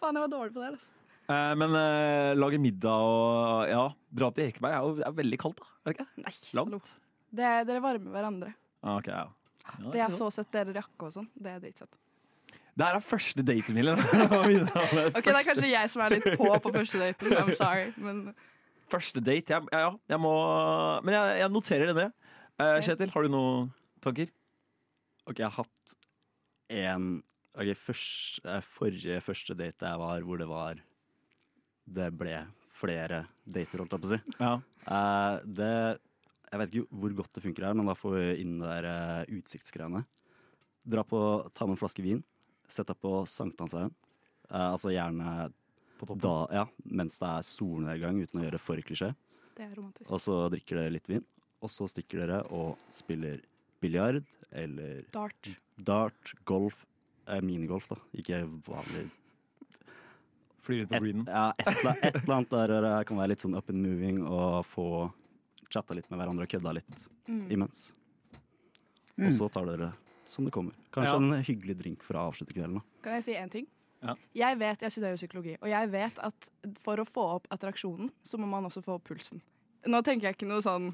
S7: Faen, jeg var dårlig på det her, altså.
S8: Eh, men eh, lage middag og ja, dra opp til Ekeberg er jo det er veldig kaldt, da. Er det ikke?
S7: Nei,
S8: Langt.
S7: Det, dere varmer hverandre.
S8: Ah, ok, ja. Ja,
S7: Det
S8: ikke
S7: er så søtt. Dere jakke og sånn. Det er dritsøtt.
S8: Det her er første date, Emilie. <laughs> Det var min- det
S7: <laughs>
S8: var
S7: Ok, Det er
S8: første-
S7: kanskje jeg som er litt på på første daten. I'm sorry. Men
S8: Første date, ja. ja, ja jeg må, men jeg, jeg noterer det. Eh, Kjetil, har du noen tanker?
S6: Ok, jeg har hatt en Ok, først, eh, forrige første date jeg var hvor det var Det ble flere dater, holdt jeg på å si.
S8: Ja.
S6: Eh, det Jeg vet ikke hvor godt det funker her, men da får vi inn det der eh, utsiktsgreiene. Dra på, ta med en flaske vin, sett deg på Sankthanshaugen. Eh, altså gjerne da, ja, mens det er solnedgang, uten å gjøre for klisjé.
S7: det er romantisk.
S6: Og så drikker dere litt vin, og så stikker dere og spiller biljard eller
S7: Dart.
S6: dart, golf, eh, minigolf da, ikke vanlig.
S8: Fly rundt på greenen.
S6: Ja, et, eller- et eller annet der dere kan være litt sånn up and moving og få chatta litt med hverandre og kødda litt
S7: Mm.
S6: imens. Og
S7: Mm.
S6: så tar dere som det kommer. Kanskje
S7: Ja.
S6: en hyggelig drink for å avslutte kvelden. da.
S7: Kan jeg si én ting?
S6: Ja.
S7: Jeg vet, jeg studerer psykologi, og jeg vet at for å få opp attraksjonen, så må man også få opp pulsen. Nå tenker jeg ikke noe sånn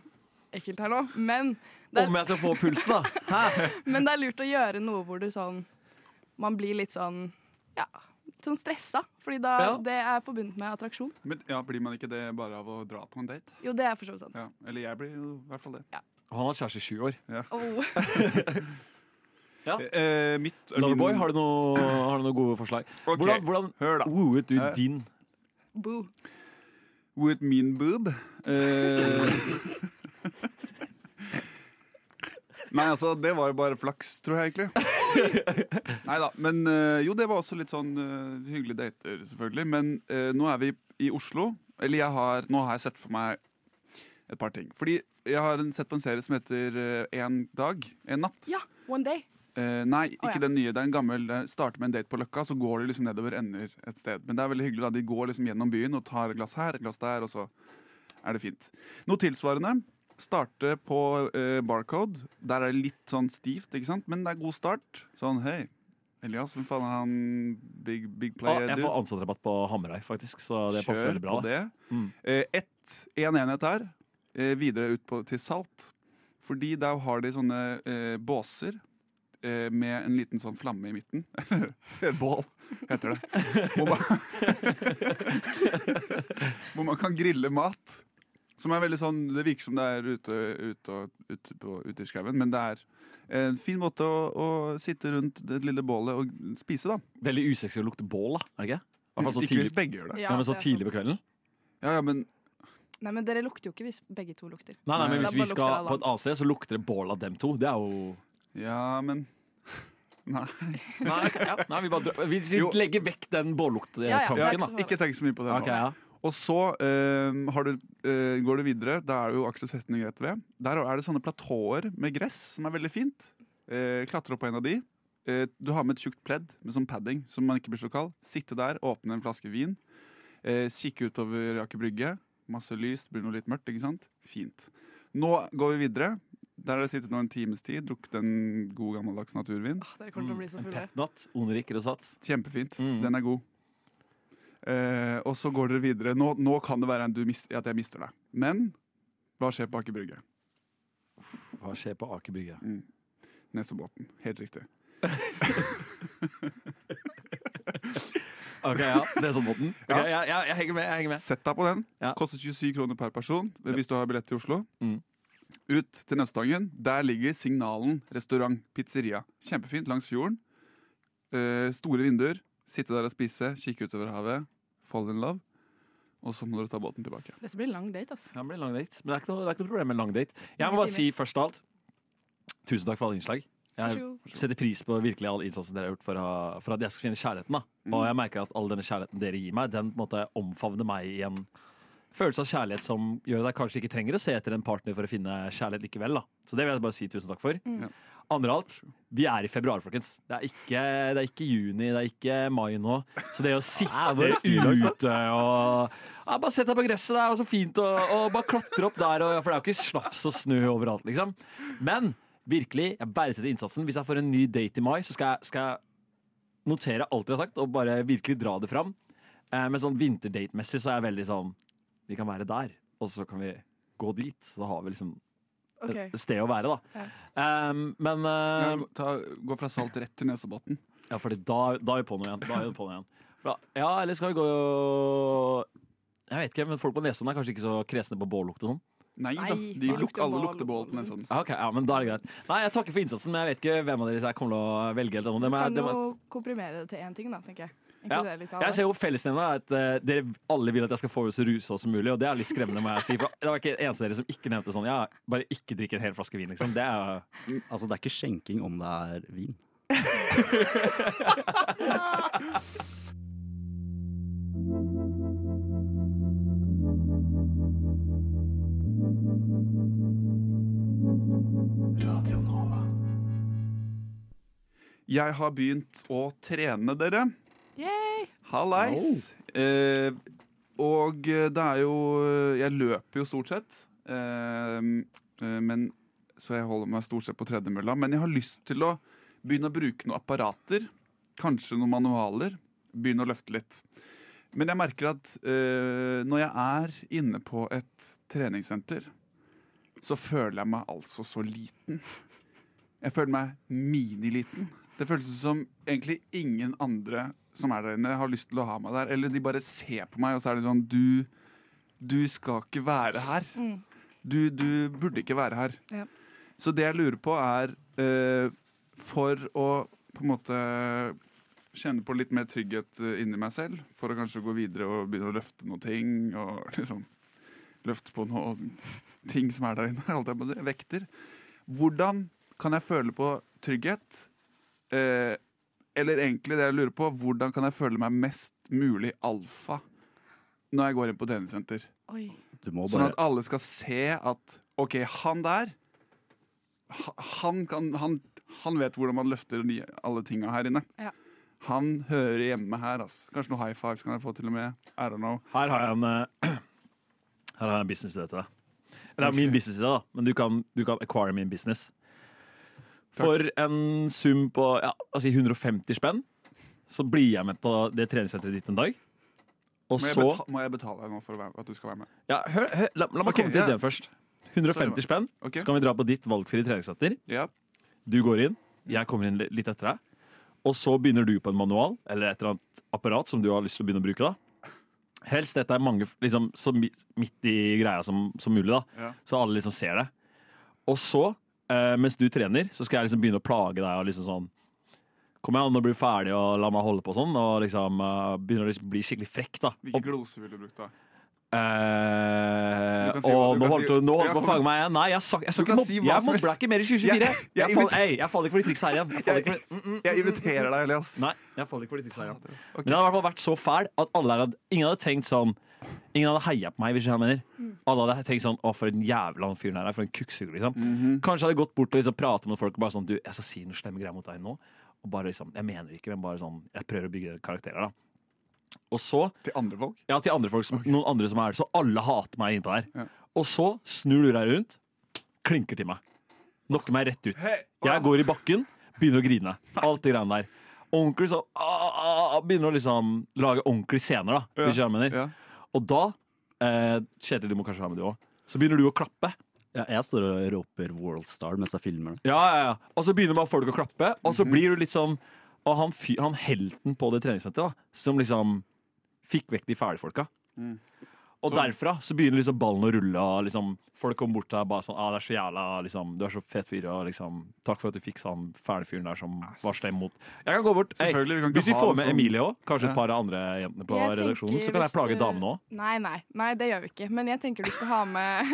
S7: ekkelt her nå, men det
S8: Om
S7: er,
S8: jeg skal få pulsen,
S5: <laughs>
S8: da! Hæ?
S7: men det er lurt å gjøre noe hvor du sånn Man blir litt sånn ja, sånn stressa, fordi da
S5: Ja.
S7: det er forbundet med attraksjon.
S5: Men ja, Blir man ikke det bare av å dra på en date?
S7: Jo, det er for så vidt sant.
S5: Ja, Eller jeg blir jo i hvert fall det.
S8: Og han har vært kjæreste i sju år.
S5: Ja.
S7: Oh,
S8: Ja.
S5: Eh, mitt
S8: Loverboy, har du noe- har du noen gode forslag? Hvordan, hvordan wooet du
S5: Eh.
S8: din?
S7: Boo.
S5: With mean boob. Eh, <laughs> Nei, altså, det var jo bare flaks, tror jeg egentlig. Nei da. Men eh, jo, det var også litt sånn eh, hyggelige dater, selvfølgelig. Men eh, nå er vi i Oslo. Eller jeg har, nå har jeg sett for meg et par ting. Fordi jeg har en- sett på en serie som heter eh, En dag, en natt.
S7: Ja, one day.
S5: Eh, nei,
S7: Å,
S5: ikke
S7: ja.
S5: den nye. Det er en gammel det starter med en date på Løkka, så går de liksom nedover ender et sted. Men det er veldig hyggelig da, de går liksom gjennom byen og tar et glass her, et glass der, og så er det fint. Noe tilsvarende. Starte på eh, Barcode. Der er det litt sånn stivt, ikke sant? men det er god start. Sånn hei, Elias, hvem faen er han big, big
S8: Ah,
S5: player
S8: jeg
S5: dude?»
S8: får ansattrabatt på Hamarøy, faktisk, så det passer
S5: Kjør
S8: veldig bra.
S5: på
S8: da. Mm.
S5: det. Eh, ett, en enhet her, eh, videre ut på, til Salt. Fordi der har de sånne eh, båser eh, med en liten sånn flamme i midten. <laughs> Et bål, heter det. Hvor man, <laughs> hvor man kan grille mat. Som er veldig sånn, Det virker som det er ute, ute, og- ute, på, ute i skauen, men det er en fin måte å, å sitte rundt det lille bålet og spise, da.
S8: Veldig usexy å lukte bål, da. Er det ikke? I hvert fall så
S5: Ikke hvis
S8: tidlig-
S5: begge gjør det.
S8: Ja, men så
S7: det er
S8: tidlig på kvelden?
S5: Ja, ja, men
S7: Nei, men dere lukter jo ikke hvis begge to lukter.
S8: Nei, nei, men
S7: Da
S8: hvis
S7: bare
S8: vi
S7: lukter
S8: skal
S7: det
S8: på et annet sted, så lukter det bål av dem to. Det er jo
S5: Ja, men Nei.
S8: Nei, ok, ja. nei vi, bare, dra- vi
S5: Jo.
S8: legger vekk den
S5: Ja, ja,
S8: bållukttanken,
S5: ikke
S8: da.
S5: så farlig. Ikke tenk så mye på det nå.
S8: Ok, ja.
S5: Og så eh, har du, eh, går du videre. Da er det jo Aksel Festning rett ved. Der er det sånne platåer med gress som er veldig fint. Eh, klatre opp på en av de. Eh, du har med et tjukt pledd med sånn padding, så man ikke blir så kald. Sitte der, åpne en flaske vin. Eh, kikke utover Aker Brygge. Masse lys, blir noe litt mørkt, ikke sant? Fint. Nå går vi videre. Der har jeg sittet nå en times tid, drukket en god gammeldags naturvin.
S7: Dere kommer til å bli
S8: Mm,
S7: så fulle.
S5: Natt, Onerik Rosat. Kjempefint. Den er god. Eh, og så går dere videre. Nå, nå kan det være en du mis at jeg mister deg. Men hva skjer på Aker Brygge?
S8: Hva skjer på Aker Brygge?
S5: Mm. Nesebåten. Helt riktig.
S8: Ok, ja. Nesebåten. Ok,
S5: Ja.
S8: <laughs> ja, ja, jeg henger med. Jeg henger med.
S5: Sett deg på den. Koster 27 kroner per person hvis du har billett til Oslo. Ut til Nøsttangen. Der ligger Signalen restaurant, pizzeria. Kjempefint langs fjorden. Eh, store vinduer. Sitte der og spise, kikke utover havet. Fall in love. Og så må dere ta båten tilbake.
S7: Dette blir en lang date, altså.
S8: Ja, det blir en lang date. Men det er ikke noe, det er ikke noe problem med en lang date. Jeg
S7: Mange
S8: må bare
S7: timer.
S8: si først av alt tusen takk for alle innslag.
S7: Vær
S8: Jeg
S7: så god.
S8: setter pris på virkelig all innsatsen dere har gjort for, å, for at jeg skal finne kjærligheten. da. Og jeg merker at all denne kjærligheten dere gir meg, den på en måte omfavner meg i en følelse av kjærlighet som gjør at jeg kanskje ikke trenger å se etter en partner for å finne kjærlighet likevel. da. Så det vil jeg bare si tusen takk for.
S7: Mm. Ja.
S8: Andre alt, vi er i februar, folkens. Det er ikke, det er ikke juni, det er ikke mai nå. Så det å sitte
S2: det er stil, altså.
S8: ute og ja, Bare sett deg på gresset, det er jo så fint, og, og bare klatre opp der, og, for det er jo ikke slafs og snø overalt, liksom. Men virkelig, jeg verdsetter innsatsen. Hvis jeg får en ny date i mai, så skal jeg, skal jeg notere alt dere har sagt, og bare virkelig dra det fram. Eh, men sånn vinterdate-messig så er jeg veldig sånn Vi kan være der, og så kan vi gå dit. Så da har vi liksom
S7: Ok.
S8: et sted å være, da. Ehm, men eh,
S5: Gå fra salt rett til nesebåten.
S8: Ja, for da, da er vi på noe igjen. Da er vi på noe <laughs> igjen. Bra. Ja, eller skal vi gå Jeg vet ikke, men folk på Nesodden er kanskje ikke så kresne på bållukt og sånn?
S5: Nei da,
S8: Nei,
S5: de
S8: da
S5: luk
S8: lukter
S5: alle
S8: bål.
S5: lukter bål på sånn. Nesodden.
S8: Ja, Ah, ok, ja, men da er det greit. Nei, Jeg takker for innsatsen, men jeg vet ikke hvem av dere jeg kommer til å velge. Eller noe. Det må jeg-
S7: Kan
S8: det må-
S7: jo komprimere det til én ting, da, tenker jeg.
S8: Ja.
S7: Inkludere litt av
S8: Jeg ser jo fellesnevna er at eh, dere alle vil at jeg skal få henne så rusa som mulig, og det er litt skremmende, må jeg si. For det var ikke en eneste av dere som ikke nevnte sånn. Ja, bare ikke drikk en hel flaske vin, liksom. Det er
S6: Altså, det er ikke skjenking om det er vin.
S5: Jeg har begynt å trene dere.
S7: Yay!
S5: Hallais! Eh, og eh, det er jo eh, Jeg løper jo stort sett. Eh, eh, men, så jeg holder meg stort sett på tredemølla. Men jeg har lyst til å begynne å bruke noen apparater. Kanskje noen manualer. Begynne å løfte litt. Men jeg merker at eh, når jeg er inne på et treningssenter, så føler jeg meg altså så liten. Jeg føler meg miniliten. Det føles som egentlig ingen andre som er der inne, har lyst til å ha meg der. Eller de bare ser på meg, og så er de sånn Du, du skal ikke være her.
S7: Mm.
S5: Du, du burde ikke være her.
S7: Ja.
S5: Så det jeg lurer på, er eh, For å på en måte kjenne på litt mer trygghet eh, inni meg selv, for å kanskje gå videre og begynne å løfte noen ting, og <laughs> liksom løfte på noen ting som er der inne, <laughs> holdt jeg på å si, vekter. Hvordan kan jeg føle på trygghet? Eh, eller egentlig det jeg lurer på, hvordan kan jeg føle meg mest mulig alfa når jeg går inn på treningssenter?
S7: Oi.
S6: Du må
S5: Sånn
S6: bare
S5: at alle skal se at OK, han der ha- Han, kan, han, han vet hvordan man løfter de, alle tinga her inne.
S7: Ja.
S5: Han hører hjemme her. Altså. Kanskje noen high fives kan jeg få til og med. I don't know.
S8: Her har jeg en, eh, <clears throat> her har jeg en business idé til deg. Det er min business idé, da, men du kan, du kan acquire min business. For en sum på ja, altså 150 spenn, så blir jeg med på det treningssenteret ditt en dag. Og
S5: må, jeg
S8: så
S5: beta- må jeg betale deg nå for å være, at du skal være med?
S8: ja, hør, hør, la, la meg
S5: Ok,
S8: komme til
S5: ja.
S8: ideen først. 150
S5: Sorry.
S8: spenn,
S5: Ok.
S8: så kan vi dra på ditt valgfrie treningssenter. Du går inn, jeg kommer inn li- litt etter deg. Og så begynner du på en manual eller et eller annet apparat som du har lyst til å begynne å bruke. da. Helst dette er mange, f- liksom, så mi- midt i greia som, som mulig, da.
S5: Ja.
S8: så alle liksom ser det. Og så, eh, mens du trener, så skal jeg liksom begynne å plage deg og liksom sånn Kom igjen, nå blir du ferdig, og la meg holde på sånn. Og liksom eh, begynner å liksom bli skikkelig frekk, da.
S5: Hvilke gloser ville du brukt da?
S8: Eh,
S5: Du kan si
S8: og
S5: hva- du
S8: nå
S5: kan
S8: holdt
S5: si-
S8: du nå holdt
S5: Ja,
S8: du på å
S5: kom.
S8: fange meg igjen. Nei, jeg, sa, jeg, sa
S5: Du
S8: ikke
S5: kan
S8: mobb-
S5: si hva
S8: jeg
S5: som helst.
S8: mobla ikke mer i 2024. Jeg,
S5: Jeg- jeg
S8: faller,
S5: inviter-
S8: ei, jeg faller ikke for de triksa her igjen. Jeg
S5: <laughs>
S8: faller ikke for,
S5: Jeg inviterer deg, Elias.
S8: nei, jeg faller ikke for de triksa her igjen. Men det hadde i hvert fall vært så fæl at alle der hadde, ingen hadde tenkt sånn Ingen hadde heia på meg. hvis jeg mener Alle hadde tenkt sånn Å, for en jævla han fyren her er. For en kukksuger, liksom.
S5: Mhm.
S8: Kanskje hadde jeg gått bort og liksom pratet med folk og bare sånn Du, jeg skal si noe slemme greier mot deg nå. Og bare liksom Jeg mener det ikke, men bare sånn Jeg prøver å bygge karakterer, da. Og så
S5: Til andre folk?
S8: ja, til andre folk som, noen andre som er det, så alle hater meg innpå der. Og så snur du deg rundt, klinker til meg. Lokker meg rett ut. Jeg går i bakken, begynner å grine. Alt det greiene der. Onkel sånn ah, ah, ah, Begynner å liksom lage ordentlige scener, da. Hvis du skjønner hva jeg mener. Og da eh, Kjetil, du må kanskje være med, du òg. Så begynner du å klappe.
S6: Ja, jeg står og roper Worldstar mens jeg filmer det.
S8: Ja, ja, ja. Og så begynner man folk å klappe, og
S5: Mhm.
S8: så blir du litt sånn Og han, fy- han helten på det treningssenteret, da, som liksom fikk vekk de fæle folka.
S5: Mm.
S8: Og
S2: Så-
S8: derfra så begynner liksom ballen å rulle, og liksom, folk kommer bort til deg bare sånn ah, 'Det er så jævla liksom, Du er så fet fyr, og liksom Takk for at du fikk han fæle fyren der som var slem mot Jeg kan gå bort. Hey,
S5: Selvfølgelig, vi kan ikke
S8: hvis vi
S5: ha
S8: får
S5: det
S8: med
S5: som-
S8: Emilie òg, kanskje
S5: Ja.
S8: et par av andre jentene på
S7: Jeg tenker
S8: redaksjonen, så kan
S7: hvis
S8: jeg plage
S7: du-
S8: damene òg.
S7: Nei, nei, nei, det gjør vi ikke. Men jeg tenker du skal ha
S8: <laughs>
S7: med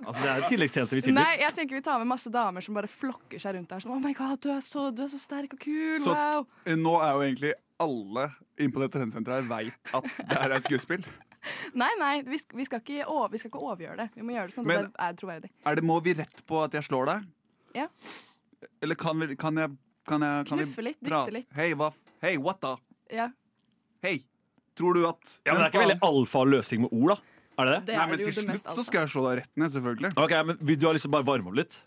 S8: Altså, det er en tilleggstjeneste vi tilbyr.
S7: Nei, jeg tenker vi tar med masse damer som bare flokker seg rundt der. Sånn, oh my god, du er så, du er så sterk og kul,
S5: Så
S7: wow.
S5: eh, nå er jo egentlig alle inne på det treningssenteret her veit at det her er et skuespill.
S7: Nei, nei, vi, sk- vi, skal ikke, over- vi skal ikke overgjøre det. Vi må gjøre det sånn at
S5: Men-
S7: det er troverdig.
S5: Er det, må vi rett på at jeg slår deg?
S7: Ja.
S5: Eller kan, vi, kan jeg kan jeg, kan vi
S7: Knuffe litt,
S5: pra-
S7: dytte litt.
S5: Hei, hva f- Hei, what da?
S7: Ja,
S5: Hei, tror du at
S8: Ja, men det er ikke veldig alfa løsning med ord, da. Er det det?
S7: Det
S5: Nei,
S7: er
S5: men
S7: jo
S5: til
S7: det mest altså.
S5: slutt så
S7: alfa.
S5: skal jeg slå deg rett ned, selvfølgelig.
S8: Ok, men vil Du har liksom bare varme opp litt?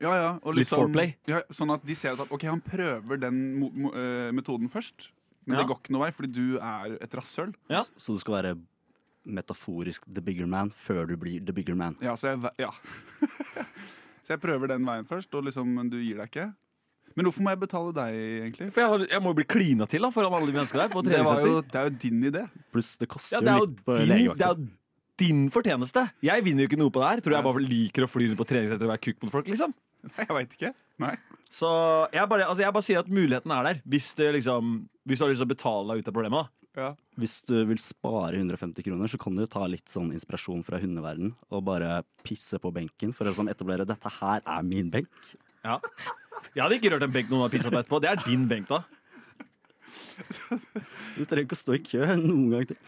S5: Ja, ja, og
S8: Litt
S5: liksom-
S8: foreplay?
S5: Ja, sånn at de ser at ok, han prøver den mo mo eh, metoden først. Men
S8: Ja.
S5: det går ikke noe vei, fordi du er et rasshøl.
S6: S- Så du skal være metaforisk the bigger man før du blir the bigger man.
S5: Ja, så jeg, ve- ja. <laughs> så jeg prøver den veien først, og liksom, men du gir deg ikke. Men hvorfor må jeg betale deg, egentlig?
S8: For jeg, har- jeg må jo bli klina til da, foran alle de menneskene der. på
S5: Det, var jo,
S8: treningssenter.
S5: det er jo din idé. <laughs>
S6: Pluss det koster
S8: Ja, det
S6: jo
S8: er jo
S6: litt på
S8: din, det er
S6: legevakta.
S8: jo din fortjeneste. Jeg vinner jo ikke noe på det her. Tror jeg bare liker å fly rundt på treningssenter og være kukk mot folk, liksom.
S5: Nei, jeg veit ikke. Nei.
S8: Så jeg bare, altså jeg bare sier at muligheten er der, hvis, det liksom, hvis du har lyst til å betale deg ut av problemet. da.
S5: Ja.
S6: Hvis du vil spare 150 kroner, så kan du jo ta litt sånn inspirasjon fra hundeverden og bare pisse på benken for å sånn etablere dette her er min benk.
S8: Jeg hadde ikke rørt en benk noen har pissa på etterpå. Det er din benk, da.
S6: Du trenger ikke å stå i kø noen gang til.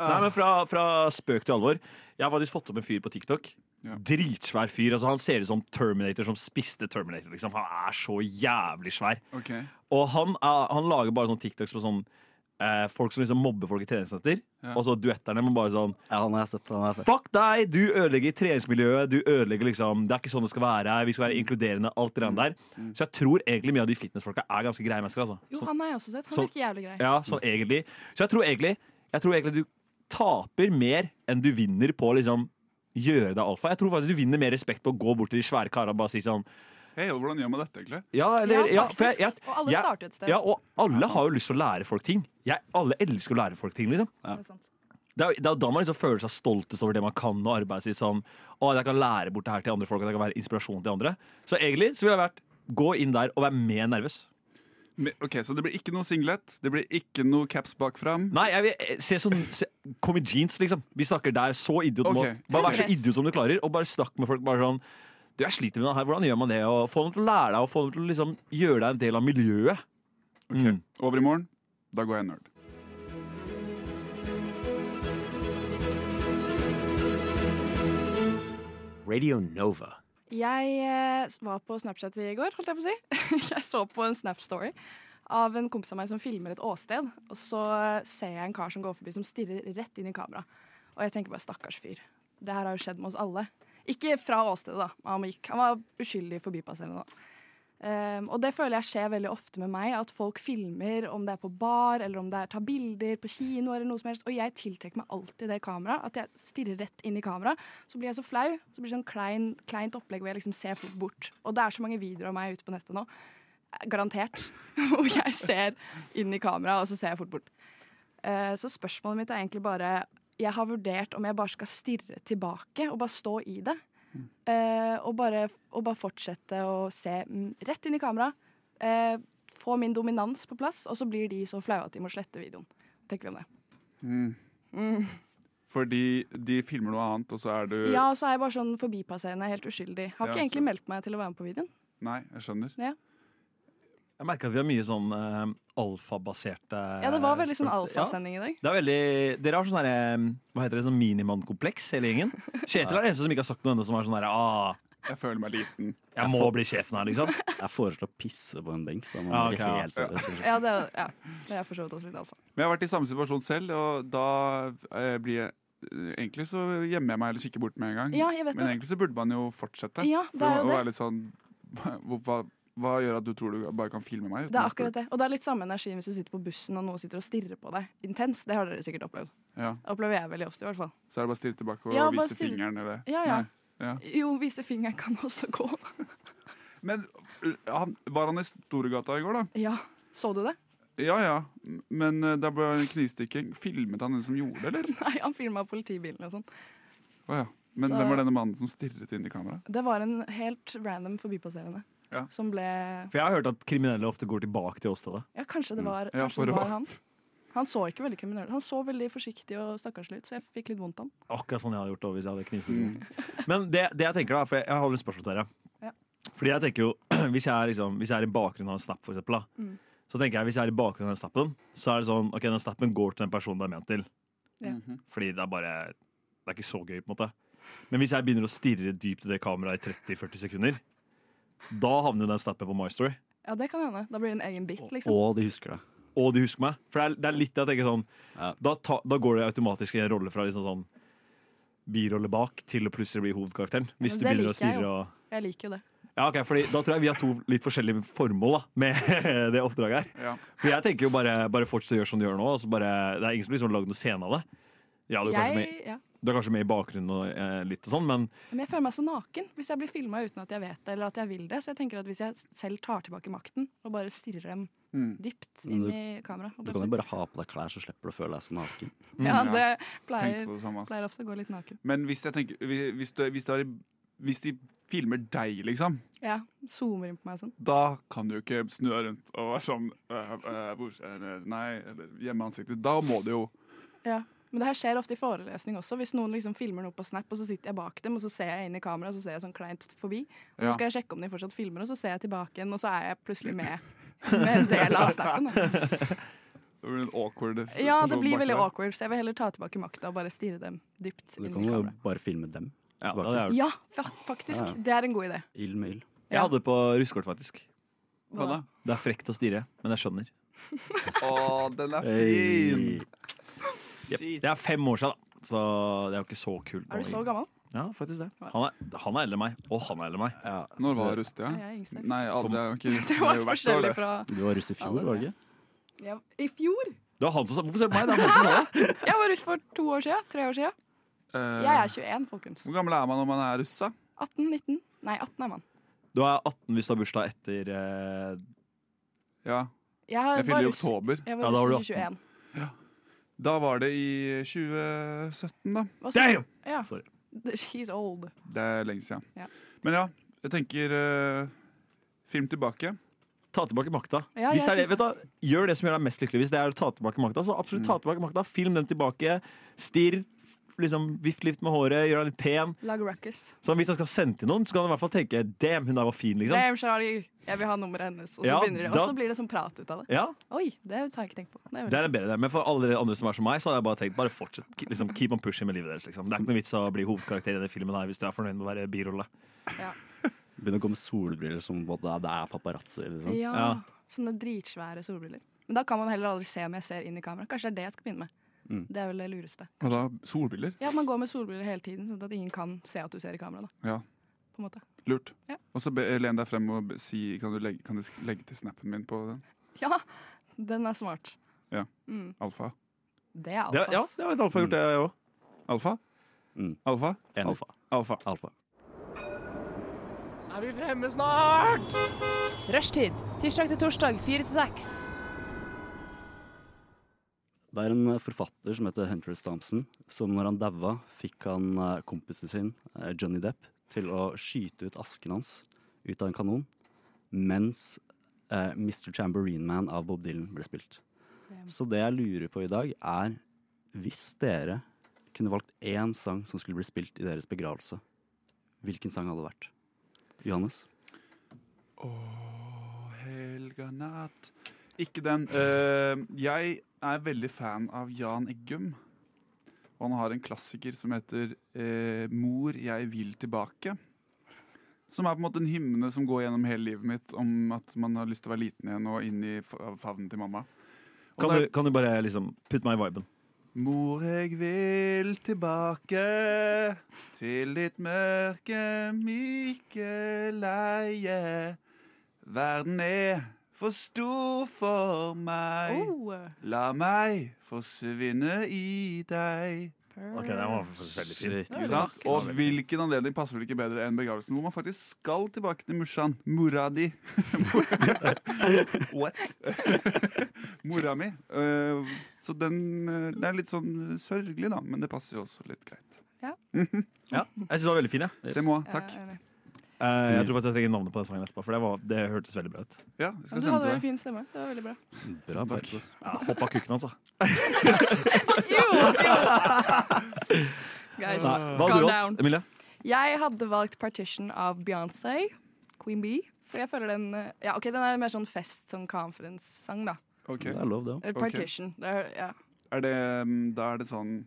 S8: Nei, men fra, fra spøk til alvor. Jeg har faktisk fått opp en fyr på TikTok.
S5: Ja.
S8: Dritsvær fyr. altså Han ser ut som Terminator som spiste Terminator. liksom. Han er så jævlig svær.
S5: Ok.
S8: Og han, er, han lager bare sånne TikToks på sånn eh, folk som liksom mobber folk i treningssenter.
S5: Ja.
S8: Og så duetterne må bare sånn
S6: Ja, han har jeg sett. Han er fett.
S8: Fuck deg! Du ødelegger treningsmiljøet. Du ødelegger liksom Det er ikke sånn det skal være. Vi skal være inkluderende. Alt det der. Så jeg tror egentlig mye av de fitnessfolka er ganske greie mennesker. altså.
S7: Jo,
S8: Så,
S7: han har jeg også sett. Han
S8: så-
S7: virker jævlig grei.
S8: ja, sånn egentlig. Så jeg tror egentlig, jeg tror egentlig du taper mer enn du vinner på å liksom gjøre deg alfa. Jeg tror faktisk du vinner mer respekt på å gå bort til de svære karene og bare si sånn
S5: Hei, og hvordan gjør man dette, egentlig?
S8: Ja, eller ja, for jeg,
S7: faktisk.
S8: jeg,
S7: og alle
S8: jeg-
S7: starter et sted.
S8: Ja, og alle har jo lyst til å lære folk ting. Jeg, alle elsker å lære folk ting, liksom.
S7: Det er sant.
S8: Det er, jo- det er jo da man liksom føler seg stoltest over det man kan, og arbeidet sitt sånn Å, jeg kan lære bort det her til andre folk, at jeg kan være inspirasjon til andre. Så egentlig så ville jeg vært gå inn der og være mer nervøs.
S5: Men- Ok, Så det blir ikke noe singlet, det blir ikke noe caps bak fram.
S8: Nei, jeg vil eh, se sånn se, Kom i jeans, liksom. Vi snakker der, så idiot må
S5: Ok.
S8: Bare vær så
S7: Dress.
S8: idiot som du klarer, og bare snakk med folk bare sånn Du, jeg sliter med det her, hvordan gjør man det? Og få dem til å lære deg, og få dem til å liksom gjøre deg en del av miljøet.
S5: Ok,
S8: Mm.
S5: Over i morgen, da går jeg nerd.
S2: Radio Nova.
S7: Jeg eh, var på Snapchat i går, holdt jeg på å si. <laughs> jeg så på en Snap-story av en kompis av meg som filmer et åsted. Og så eh, ser jeg en kar som går forbi som stirrer rett inn i kamera. Og jeg tenker bare stakkars fyr. Det her har jo skjedd med oss alle. Ikke fra åstedet, da. Han, gikk, han var uskyldig forbipasserende. da. Ehm, og det føler jeg skjer veldig ofte med meg, at folk filmer om det er på bar, eller om det er tar bilder på kino, eller noe som helst. Og jeg tiltrekker meg alltid det kameraet. At jeg stirrer rett inn i kameraet. Så blir jeg så flau. Så blir det sånn klein, kleint opplegg hvor jeg liksom ser folk bort. Og det er så mange videoer av meg ute på nettet nå. eh, Garantert. <laughs> Hvor jeg ser inn i kameraet, og så ser jeg fort bort. Eh, Så spørsmålet mitt er egentlig bare Jeg har vurdert om jeg bare skal stirre tilbake og bare stå i det. Eh, og, bare, og bare fortsette å se mm, rett inn i kamera. eh, få min dominans på plass, og så blir de så flaue at de må slette videoen. Hva tenker vi om det?
S5: Fordi de filmer noe annet, og så er du
S7: Ja, og så er jeg bare sånn forbipasserende, helt uskyldig.
S5: Eh.
S7: Har
S5: Ja,
S7: ikke egentlig
S5: så-
S7: meldt meg til å være med på videoen.
S5: Nei, jeg skjønner.
S8: Jeg merker at vi har mye sånn eh, alfabaserte
S7: Ja, det var veldig sånn
S8: spørsmål. Ja.
S7: alfasending i dag.
S8: Det er veldig, dere har sånn her, eh, hva heter det, sånn minimann-kompleks,
S7: <laughs>
S8: hele gjengen. Kjetil er den eneste som ikke har sagt noe ennå, som er sånn her ah,
S5: Jeg føler meg liten.
S8: Jeg må bli sjefen her, liksom.
S6: Jeg foreslår å pisse på en benk. Da må
S8: Ja,
S6: man
S8: ok, ja.
S6: være helt seriøs.
S7: Ja, det, ja. det er for så vidt også litt alfa.
S5: Men jeg har vært i samme situasjon selv, og da eh, blir jeg Egentlig så gjemmer jeg meg eller kikker bort med en gang.
S7: Ja, jeg vet
S5: Mm. Men
S7: det.
S5: egentlig så burde man jo fortsette.
S7: Ja, det er
S5: For å-
S7: jo
S5: å
S7: det.
S5: være litt sånn hva, hva, hva gjør at du tror du bare kan filme meg? uten
S7: Det er
S5: å spørre?
S7: akkurat det. Og det er litt samme energien hvis du sitter på bussen og noen sitter og stirrer på deg intenst. Det har dere sikkert opplevd.
S5: Ja.
S7: Det opplever jeg veldig ofte, i hvert fall.
S5: Så er det bare å stirre tilbake og
S7: Ja, bare
S5: vise
S7: stirre-
S5: fingeren eller
S7: Ja, ja.
S5: Nei. Ja.
S7: Jo, vise fingeren kan også gå. <laughs>
S5: Men øh, han, var han i Storgata i går, da?
S7: Ja. Så du det?
S5: Ja ja, men øh, det ble en knivstikking. Filmet han den som gjorde det, eller?
S7: <laughs> Nei, han filma politibilen og sånn.
S5: Å ja. Men
S7: Så-
S5: hvem var denne mannen som stirret inn i kamera?
S7: Det var en helt random forbipasserende
S5: Ja.
S7: som ble
S8: For jeg har hørt at kriminelle ofte går tilbake til åstedet.
S7: Ja, kanskje det var,
S8: Ja,
S7: kanskje det
S8: for å-
S7: var han. Han så ikke veldig kriminell Han så veldig forsiktig og stakkarslig ut, så jeg fikk litt vondt av han.
S8: Akkurat sånn jeg hadde gjort det hvis jeg hadde knivstukket noen. Men det, det jeg tenker da, for jeg, jeg har litt spørsmål til dere.
S7: Ja.
S8: Fordi jeg tenker jo, <clears throat> hvis jeg er, liksom, hvis jeg er i bakgrunnen av en snap, for eksempel, da,
S7: Mm.
S8: så tenker jeg hvis jeg er i bakgrunnen av den snappen, så er det sånn, ok, den snappen går til den personen det er ment til.
S7: Ja.
S8: Fordi det er bare Det er ikke så gøy, på en måte. Men hvis jeg begynner å stirre dypt i det kameraet i 30-40 sekunder, da havner jo den snappen på My Story.
S7: Ja, det kan hende. Da blir det en egen bit, liksom.
S8: Og de husker deg. Og de husker meg. For det er, det er litt jeg tenker sånn da, ta, da går det automatisk i en rolle fra liksom sånn birolle bak til å plutselig bli hovedkarakteren. Hvis
S7: Men
S8: du
S7: det
S8: begynner å
S7: liker jeg
S8: stirre
S7: jo.
S8: og
S7: Jeg liker jo det.
S8: ja, ok, fordi Da tror jeg vi har to litt forskjellige formål da, med <laughs> det oppdraget her.
S5: Ja.
S8: For jeg tenker jo bare, bare fortsett å gjøre som du gjør nå. Altså bare, det er ingen som liksom har lagd noe scene av det. Ja, du er, kanskje
S7: Jeg,
S8: med,
S7: ja.
S8: du er kanskje med i bakgrunnen og eh, litt og sånn, men
S7: Men jeg føler meg så naken hvis jeg blir filma uten at jeg vet det, eller at jeg vil det. Så jeg tenker at hvis jeg selv tar tilbake makten og bare stirrer dem
S6: Mm.
S7: dypt
S6: Men
S7: inn
S6: du-
S7: i kamera
S6: Du kan jo bare ha på deg klær, så slipper du å føle deg så naken.
S7: <laughs> Ja, det
S5: Tenkte
S7: pleier,
S5: på det samme, ass.
S7: pleier ofte å gå litt naken.
S5: Men hvis, jeg tenker, hvis, hvis, du, hvis, du er, i- hvis de filmer deg, liksom,
S7: Ja, Zoomer inn på meg og sånn.
S5: da kan du jo ikke snu deg rundt og være sånn øh, øh, hvor, eller, Nei, eller gjemme ansiktet. Da må du jo
S7: Ja. Men det her skjer ofte i forelesning også. Hvis noen liksom filmer noe på Snap, og så sitter jeg bak dem, og så ser jeg inn i kamera, og så ser jeg sånn kleint forbi. Og så
S5: Ja.
S7: skal jeg sjekke om de fortsatt filmer, og så ser jeg tilbake igjen, og så er jeg plutselig med, med en del av
S5: <laughs>
S7: snappen. Da.
S5: Det blir en awkward
S7: Ja, det
S5: person
S7: blir
S5: bak
S7: veldig
S5: deg.
S7: awkward, så jeg vil heller ta tilbake makta og bare stirre dem dypt
S6: Du
S7: inn i
S6: kan jo
S7: kamera.
S6: bare filme dem. Ja,
S7: Ja, fa- faktisk.
S8: Ja, ja.
S7: Det er en god idé.
S8: Ild med ild. Jeg
S7: Ja.
S8: hadde det på russekort, faktisk.
S7: Hva da?
S8: Det er frekt å stirre, men jeg skjønner.
S5: Å, den er fin!
S8: Hey. Jep. Det er fem år siden, da. Så det er jo ikke så kult.
S7: Er du så
S8: nå, egentlig.
S7: gammel?
S8: Ja, faktisk det. Han er, han er eldre enn meg, og han er eldre enn meg.
S5: Når var russ, det?
S7: Jeg er yngst. <laughs>
S5: Nei, alle, det er jo ikke
S7: Det var forskjellig fra
S8: Du var russ i fjor, var du ikke?
S7: ja, I fjor?
S8: Det var han som sa Hvorfor ser du på meg? Det er han som
S5: <laughs>
S8: sa det!
S7: Jeg var russ for to år siden. Tre år siden.
S5: Eh,
S7: Jeg er 21, folkens.
S5: Hvor gammel er man når man er russ, da?
S7: 18, 19. Nei, 18 er man.
S8: Du er 18 hvis du har bursdag etter eh,
S5: Ja.
S7: Jeg,
S5: Jeg
S7: var
S5: fyller i
S7: russ-
S5: oktober.
S7: Jeg
S5: Ja,
S7: var
S5: da var
S7: russ
S5: du
S7: i
S5: 18.
S7: 21.
S5: Da var det i 2017, da.
S7: Hva så- Ja. She's old.
S5: Det er lenge siden.
S7: Ja.
S5: Men ja, jeg tenker eh, film tilbake.
S8: Ta tilbake makta.
S7: Ja,
S8: hvis
S7: jeg
S8: det er det,
S7: synes
S8: vet du, hva, gjør det som gjør deg mest lykkelig. Hvis det er å ta tilbake makta, så absolutt
S5: Mm.
S8: ta tilbake makta. Film dem tilbake. Stirr. f- Liksom, Vift litt med håret. Gjør deg litt pen.
S7: Lag ruckus.
S8: Så hvis han skal sende til noen, så kan han i hvert fall tenke 'damn, hun der var fin'. liksom.
S7: Damn, Charlie. Jeg vil ha nummeret hennes. Og så,
S8: Ja,
S7: begynner de, og
S8: da-
S7: så blir det sånn prat ut av det.
S8: Ja.
S7: Oi, det har jeg ikke tenkt på. Det er
S8: Det er
S7: veldig-
S8: en bedre idé. Men for alle dere andre som er som meg, så hadde jeg bare tenkt bare fortsett. K- Liksom, keep on pushing med livet deres. liksom. Det er ikke noe vits å bli hovedkarakter i den filmen her hvis du er fornøyd med å være birolle.
S6: Begynner å gå med solbriller som både det er paparazzi, liksom.
S7: ja, Sånne dritsvære solbriller. Men da kan man heller aldri se om jeg ser inn i kamera. Kanskje det er det jeg skal begynne med.
S5: Mm.
S7: Det er vel det lureste.
S5: Og da solbriller.
S7: Ja, At man går med solbriller hele tiden, sånn at ingen kan se at du ser i kamera. da,
S5: Ja,
S7: på en måte.
S5: lurt.
S7: Ja.
S5: Og så be- len deg frem og be- si Kan du legge, kan du sk- legge til snappen min på den?
S7: Ja, den er smart.
S5: Ja.
S7: Mm.
S5: Alfa.
S7: Det er alfas.
S8: det var litt alfa gjort, det òg.
S5: Alfa? Alfa?
S6: Alfa.
S5: Alfa.
S12: Er vi fremme snart?
S3: Rushtid. Tirsdag til torsdag, fire til seks.
S6: Det er en eh, forfatter som heter Hunter S. Thompson, som når han daua, fikk han eh, kompisen sin, eh, Johnny Depp, til å skyte ut asken hans ut av en kanon, mens eh, Mr. Chamberlain Man av Bob Dylan ble spilt. Så det jeg lurer på i dag, er hvis dere kunne valgt én sang som skulle bli spilt i deres begravelse, hvilken sang hadde det vært? Johannes?
S5: Helga natt Ikke den. Eh, jeg er veldig fan av Jan Eggum. Og han har en klassiker som heter eh, 'Mor, jeg vil tilbake'. Som er på en måte en hymne som går gjennom hele livet mitt om at man har lyst til å være liten igjen og inn i fa- favnen til mamma. Og
S8: Kan,
S5: det er-
S8: du- kan du bare liksom putte meg i viben?
S5: Mor, jeg vil tilbake til ditt mørke, myke leie. Verden er for stor for meg.
S7: Oh.
S5: La meg forsvinne i deg.
S8: Ok, den var veldig fin. Mm. Shit.
S5: Ikke sant? Og hvilken anledning passer vel ikke bedre enn begravelsen, hvor man faktisk skal tilbake til morsan. Mora di. What? <laughs> Mora mi. Eh, Så den eh, Det er litt sånn sørgelig, da, men det passer jo også litt greit.
S7: Ja.
S8: Ja, jeg syns den var veldig fin. jeg.
S5: C'est moi, takk.
S7: Ja, enig.
S8: Eh, jeg tror faktisk jeg trenger navnet på den sangen etterpå, for det, var, det hørtes veldig bra ut.
S5: Ja,
S7: Men du hadde veldig fin stemme. Det var
S8: <laughs>
S7: veldig bra.
S8: Bra, Mm, takk. Ja, Hopp av kukken altså. hans, da.
S7: Guys,
S8: Nei, hva hadde
S7: calm
S8: du
S7: down.
S8: valgt, Emilie?
S7: Jeg hadde valgt Partition av Beyoncé, Queen Bee. For jeg føler den eh, Ja, OK, den er mer sånn fest, sånn conference-sang, da.
S5: Ok.
S6: Det er lov, det
S7: Eller
S5: Ok.
S7: Partition. Det er, ja.
S5: Er det mm, Da er det sånn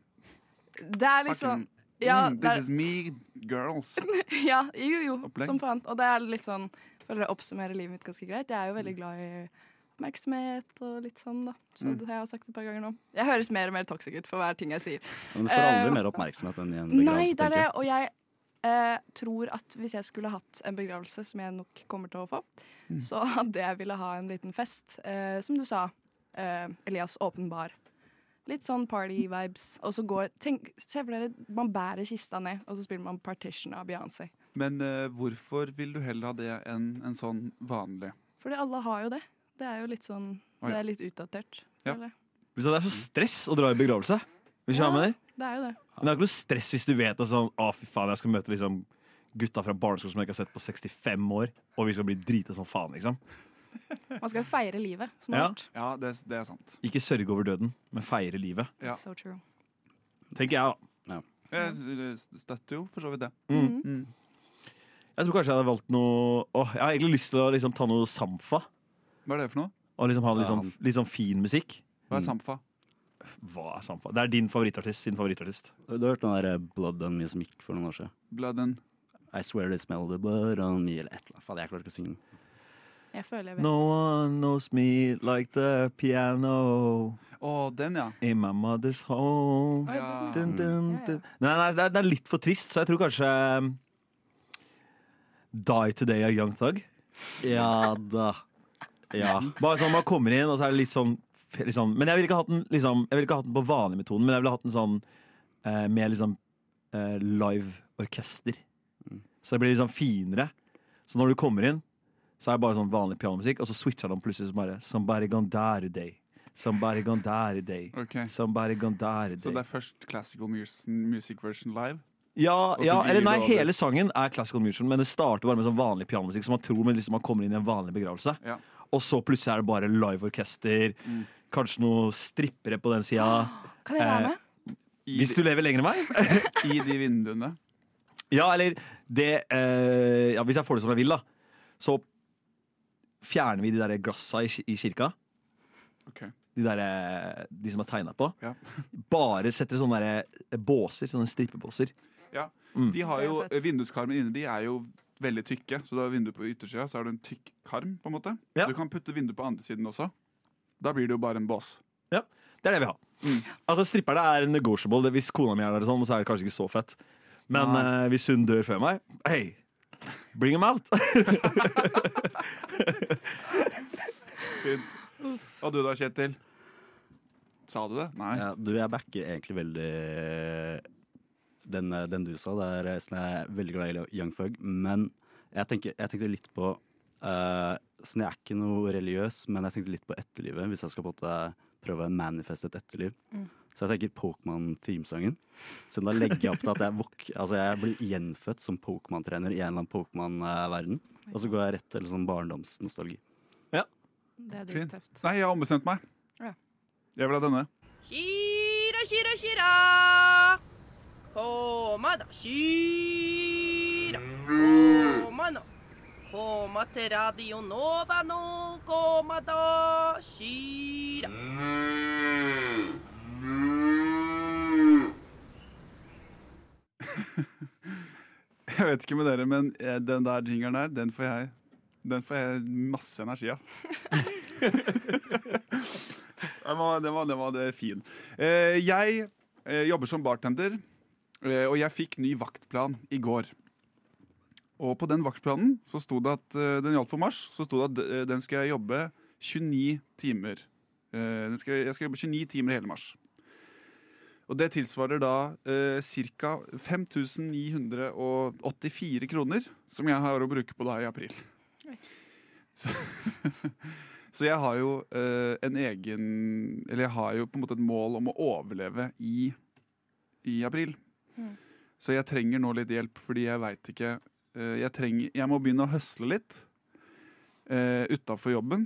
S7: det er liksom
S5: fucking,
S7: ja,
S5: mm,
S7: det er-
S5: This is me, girls.
S7: <laughs> ja, jo, jo,
S5: Opplegg.
S7: som faen. Og det er litt sånn Føler det oppsummerer livet mitt ganske greit. Jeg er jo
S5: Mm.
S7: veldig glad i oppmerksomhet og litt sånn, da. Så
S6: Mm.
S7: det har jeg sagt et par ganger nå. Jeg høres mer og mer toxic ut for hver ting jeg sier.
S6: Men du får aldri
S7: Eh,
S6: mer oppmerksomhet enn i en begravelse.
S7: Nei, det
S6: tenker
S7: er det.
S6: jeg.
S7: Og jeg eh, tror at hvis jeg skulle hatt en begravelse, som jeg nok kommer til å få,
S6: Mm.
S7: så hadde jeg ville ha en liten fest. Eh, som du sa, eh, Elias, åpen bar. Litt sånn party-vibes. Og så går tenk, Se for dere, man bærer kista ned, og så spiller man Partition av Beyoncé.
S5: Men eh, hvorfor vil du heller ha det enn en sånn vanlig?
S7: Fordi alle har jo det. Det er jo litt sånn
S5: Oi.
S7: Det er litt utdatert.
S5: Ja.
S7: føler jeg.
S8: Det er så stress å dra i begravelse. Hvis du skjønner hva jeg mener?
S7: Det er jo det.
S8: Men det er ikke noe stress hvis du vet at sånn, å fy faen, jeg skal møte liksom gutta fra barneskolen som jeg ikke har sett på 65 år, og vi skal bli drita som faen, liksom.
S7: Man skal jo feire livet. Som
S8: Ja.
S5: Ja, det, det er sant.
S8: Ikke sørge over døden, men feire livet.
S5: Ja.
S7: So true.
S8: Tenker jeg, da.
S5: Jeg s- støtter jo for så vidt det.
S8: Mm.
S5: Mm.
S8: Jeg tror kanskje jeg hadde valgt noe Åh, Jeg har egentlig lyst til å liksom, ta noe Samfa.
S5: Hva er det for noe?
S8: Og liksom ha litt
S5: Ja,
S8: sånn, litt sånn fin musikk.
S5: Hva er Samfa?
S8: Hva er Samfa? Det er din favorittartist sin favorittartist.
S6: Du har hørt den der eh, Blood On Me som gikk for noen år siden?
S5: Blood and
S6: I swear they smell the blood on me, eller et eller annet. Faen, jeg klarer ikke å synge den.
S7: Jeg føler jeg vet.
S8: No one knows me like the piano
S5: Å, den, ja.
S8: in my mother's home.
S5: Ja.
S8: Dum, dum, dum. Nei, nei det, er, det er litt for trist, så jeg tror kanskje um, Die Today av Young Thug.
S6: Ja da. Ja.
S8: Bare sånn man kommer inn, og så er det litt sånn liksom, Men jeg ville ikke hatt den liksom, Jeg ville ikke hatt den på vanlig metode, men jeg ville hatt den sånn eh, med liksom eh, live orkester.
S5: Mm.
S8: Så det blir liksom finere. Så når du kommer inn, så er det bare sånn vanlig pianomusikk, og så switcher han plutselig så bare Somebody gone die today. Somebody gone die today. Somebody gone die
S5: Så
S8: today.
S5: det er først classical mus music version live?
S8: Ja,
S5: Og så
S8: ja
S5: blir
S8: eller
S5: det
S8: nei,
S5: over.
S8: hele sangen er classical music, men det starter bare med sånn vanlig pianomusikk, så man tror man, liksom, man kommer inn i en vanlig begravelse.
S5: Ja. Mm.
S8: Og så plutselig er det bare live orkester, kanskje noe strippere på den sida.
S5: <gasps>
S7: Kan jeg være med?
S8: Hvis du lever lenger enn meg. <laughs>
S5: I de vinduene.
S8: Ja, eller det eh, ja, Hvis jeg får det som jeg vil, da, så fjerner vi de der glassa i, ki- i kirka.
S5: Ok.
S8: De, der, eh, de som er tegna på.
S5: Ja.
S8: Bare setter sånne der eh, båser, sånne strippebåser.
S5: Ja.
S8: Mm.
S5: De har jo
S8: Det
S5: Vinduskarmene inne de er jo veldig tykke, så du har vindu på yttersida, så har du en tykk karm. på en måte Du kan putte vindu på andre siden også. Da blir det jo bare en bås.
S8: Ja, det er det vi har.
S13: Mm.
S8: Altså Stripperne er negotiable. Det, hvis kona mi er der, og sånn, så er det kanskje ikke så fett. Men eh, hvis hun dør før meg, hei, bring him out! <laughs>
S5: Fint. Og du da, Kjetil? Sa du det? Nei.
S6: Ja, du, jeg backer egentlig veldig eh, den, eh, den du sa. Det er sånn jeg er veldig glad i Young Thug. Men jeg, tenker, jeg tenkte litt på eh, sånn Jeg er ikke noe religiøs, men jeg tenkte litt på etterlivet. Hvis jeg skal på en måte prøve å manifeste et etterliv.
S14: Mm.
S6: Så jeg tenker Pokémon-themesangen. Så da legger jeg opp til at jeg, våk altså jeg blir gjenfødt som Pokémon-trener i en eller annen Pokémon-verden. Og så går jeg rett til sånn barndomsnostalgi.
S7: Det er
S5: Fint.
S7: drittøft.
S5: Nei, jeg har ombestemt meg.
S7: Ja.
S5: Jeg vil ha denne.
S15: Shira, shira, shira. Koma da, shira. Koma nå. Koma til Radio Nova nå. Koma da, shira.
S5: <laughs> Jeg vet ikke med dere, men eh, den der jingeren der, den får jeg Den får jeg masse energi av. Den var, den var, den var det fin. Eh, jeg eh, jobber som bartender, eh, og jeg fikk ny vaktplan i går. Og på den vaktplanen så sto det at eh, den gjaldt for mars, så sto det at eh, den skal jeg jobbe 29 timer. Eh, den skal, jeg skal jobbe 29 timer hele mars. Og det tilsvarer da eh, ca. 5984 kroner, som jeg har å bruke på da i april.
S16: Oi.
S5: Så, <laughs> så jeg har jo eh, en egen Eller jeg har jo på en måte et mål om å overleve i, i april.
S16: Mm.
S5: Så jeg trenger nå litt hjelp, fordi jeg veit ikke eh, jeg, trenger, jeg må begynne å høsle litt uh, utafor jobben.